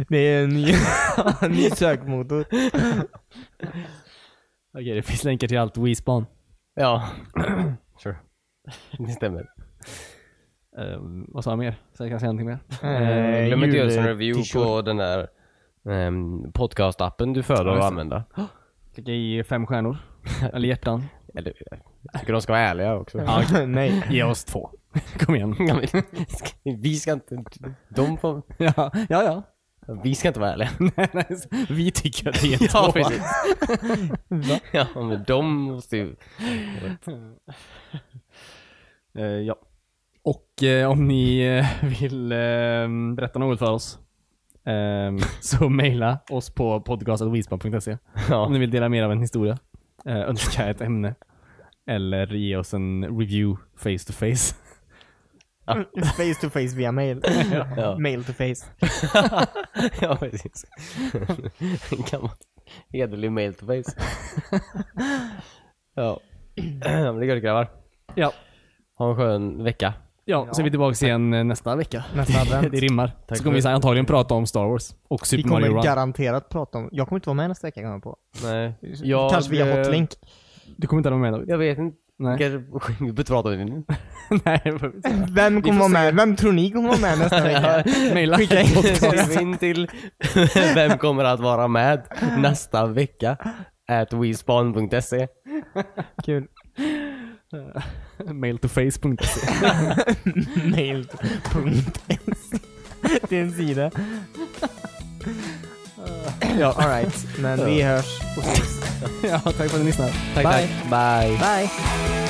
B: Det är en ny, en ny sökmotor.
A: Okej, det finns länkar till allt. Wespan.
C: Ja. Sure. Det stämmer.
A: Ehm, vad sa jag mer? Så jag kan säga någonting mer?
B: Eh,
C: Glöm inte att göra
B: jul-
C: en review
B: t-shirt.
C: på den där ehm, podcastappen du föredrar att använda.
A: Klicka i fem stjärnor. Eller hjärtan.
C: Eller, jag tycker de ska vara ärliga också.
B: Nej.
A: Ge oss två. Kom igen.
C: Ja, men, ska- vi ska inte... De får...
A: Ja, ja. ja.
C: Vi ska inte vara ärliga.
A: Nej, nej, vi tycker att det är en
C: Ja,
A: tvåa.
C: precis. ja, men de måste ju...
A: Eh, ja. Och eh, om ni eh, vill eh, berätta något för oss ehm, så mejla oss på podcastetwispan.se om
C: Ja.
A: ni vill dela med er av en historia, eh, önska ett ämne eller ge oss en review face to face.
B: Face to face via mail.
C: Ja.
B: Mail to face.
C: ja, precis. En Gammal hederlig mail to face. ja. Men det gör det grabbar.
A: Ja,
C: Ha en skön vecka.
A: ja, så är vi tillbaka igen eh, nästa vecka.
B: Nästa advent.
A: det rimmar. så kommer vi så antagligen prata om Star Wars och
B: Vi
A: Super Mario
B: kommer
A: Run.
B: garanterat prata om... Jag kommer inte vara med nästa vecka kommer jag på.
C: Nej.
B: Kanske via hotlink.
A: Du kommer inte vara med David?
C: Jag vet inte.
A: Nej.
C: Kanske- Vi behöver inte prata om det nu.
A: Nej, jag behöver inte.
B: Vem kommer vara med? Vem tror ni kommer vara med nästa vecka?
A: Mejla.
C: Skriv in till vem kommer att vara med nästa vecka. At wespawn.se
B: Kul.
A: Mail to face.se.
B: Mail.se. Det är en sida. ja. Alright, men vi hörs och ses.
A: Ja, tack för att ni lyssnade.
C: Tack,
B: Bye.
C: tack. Bye.
B: Bye!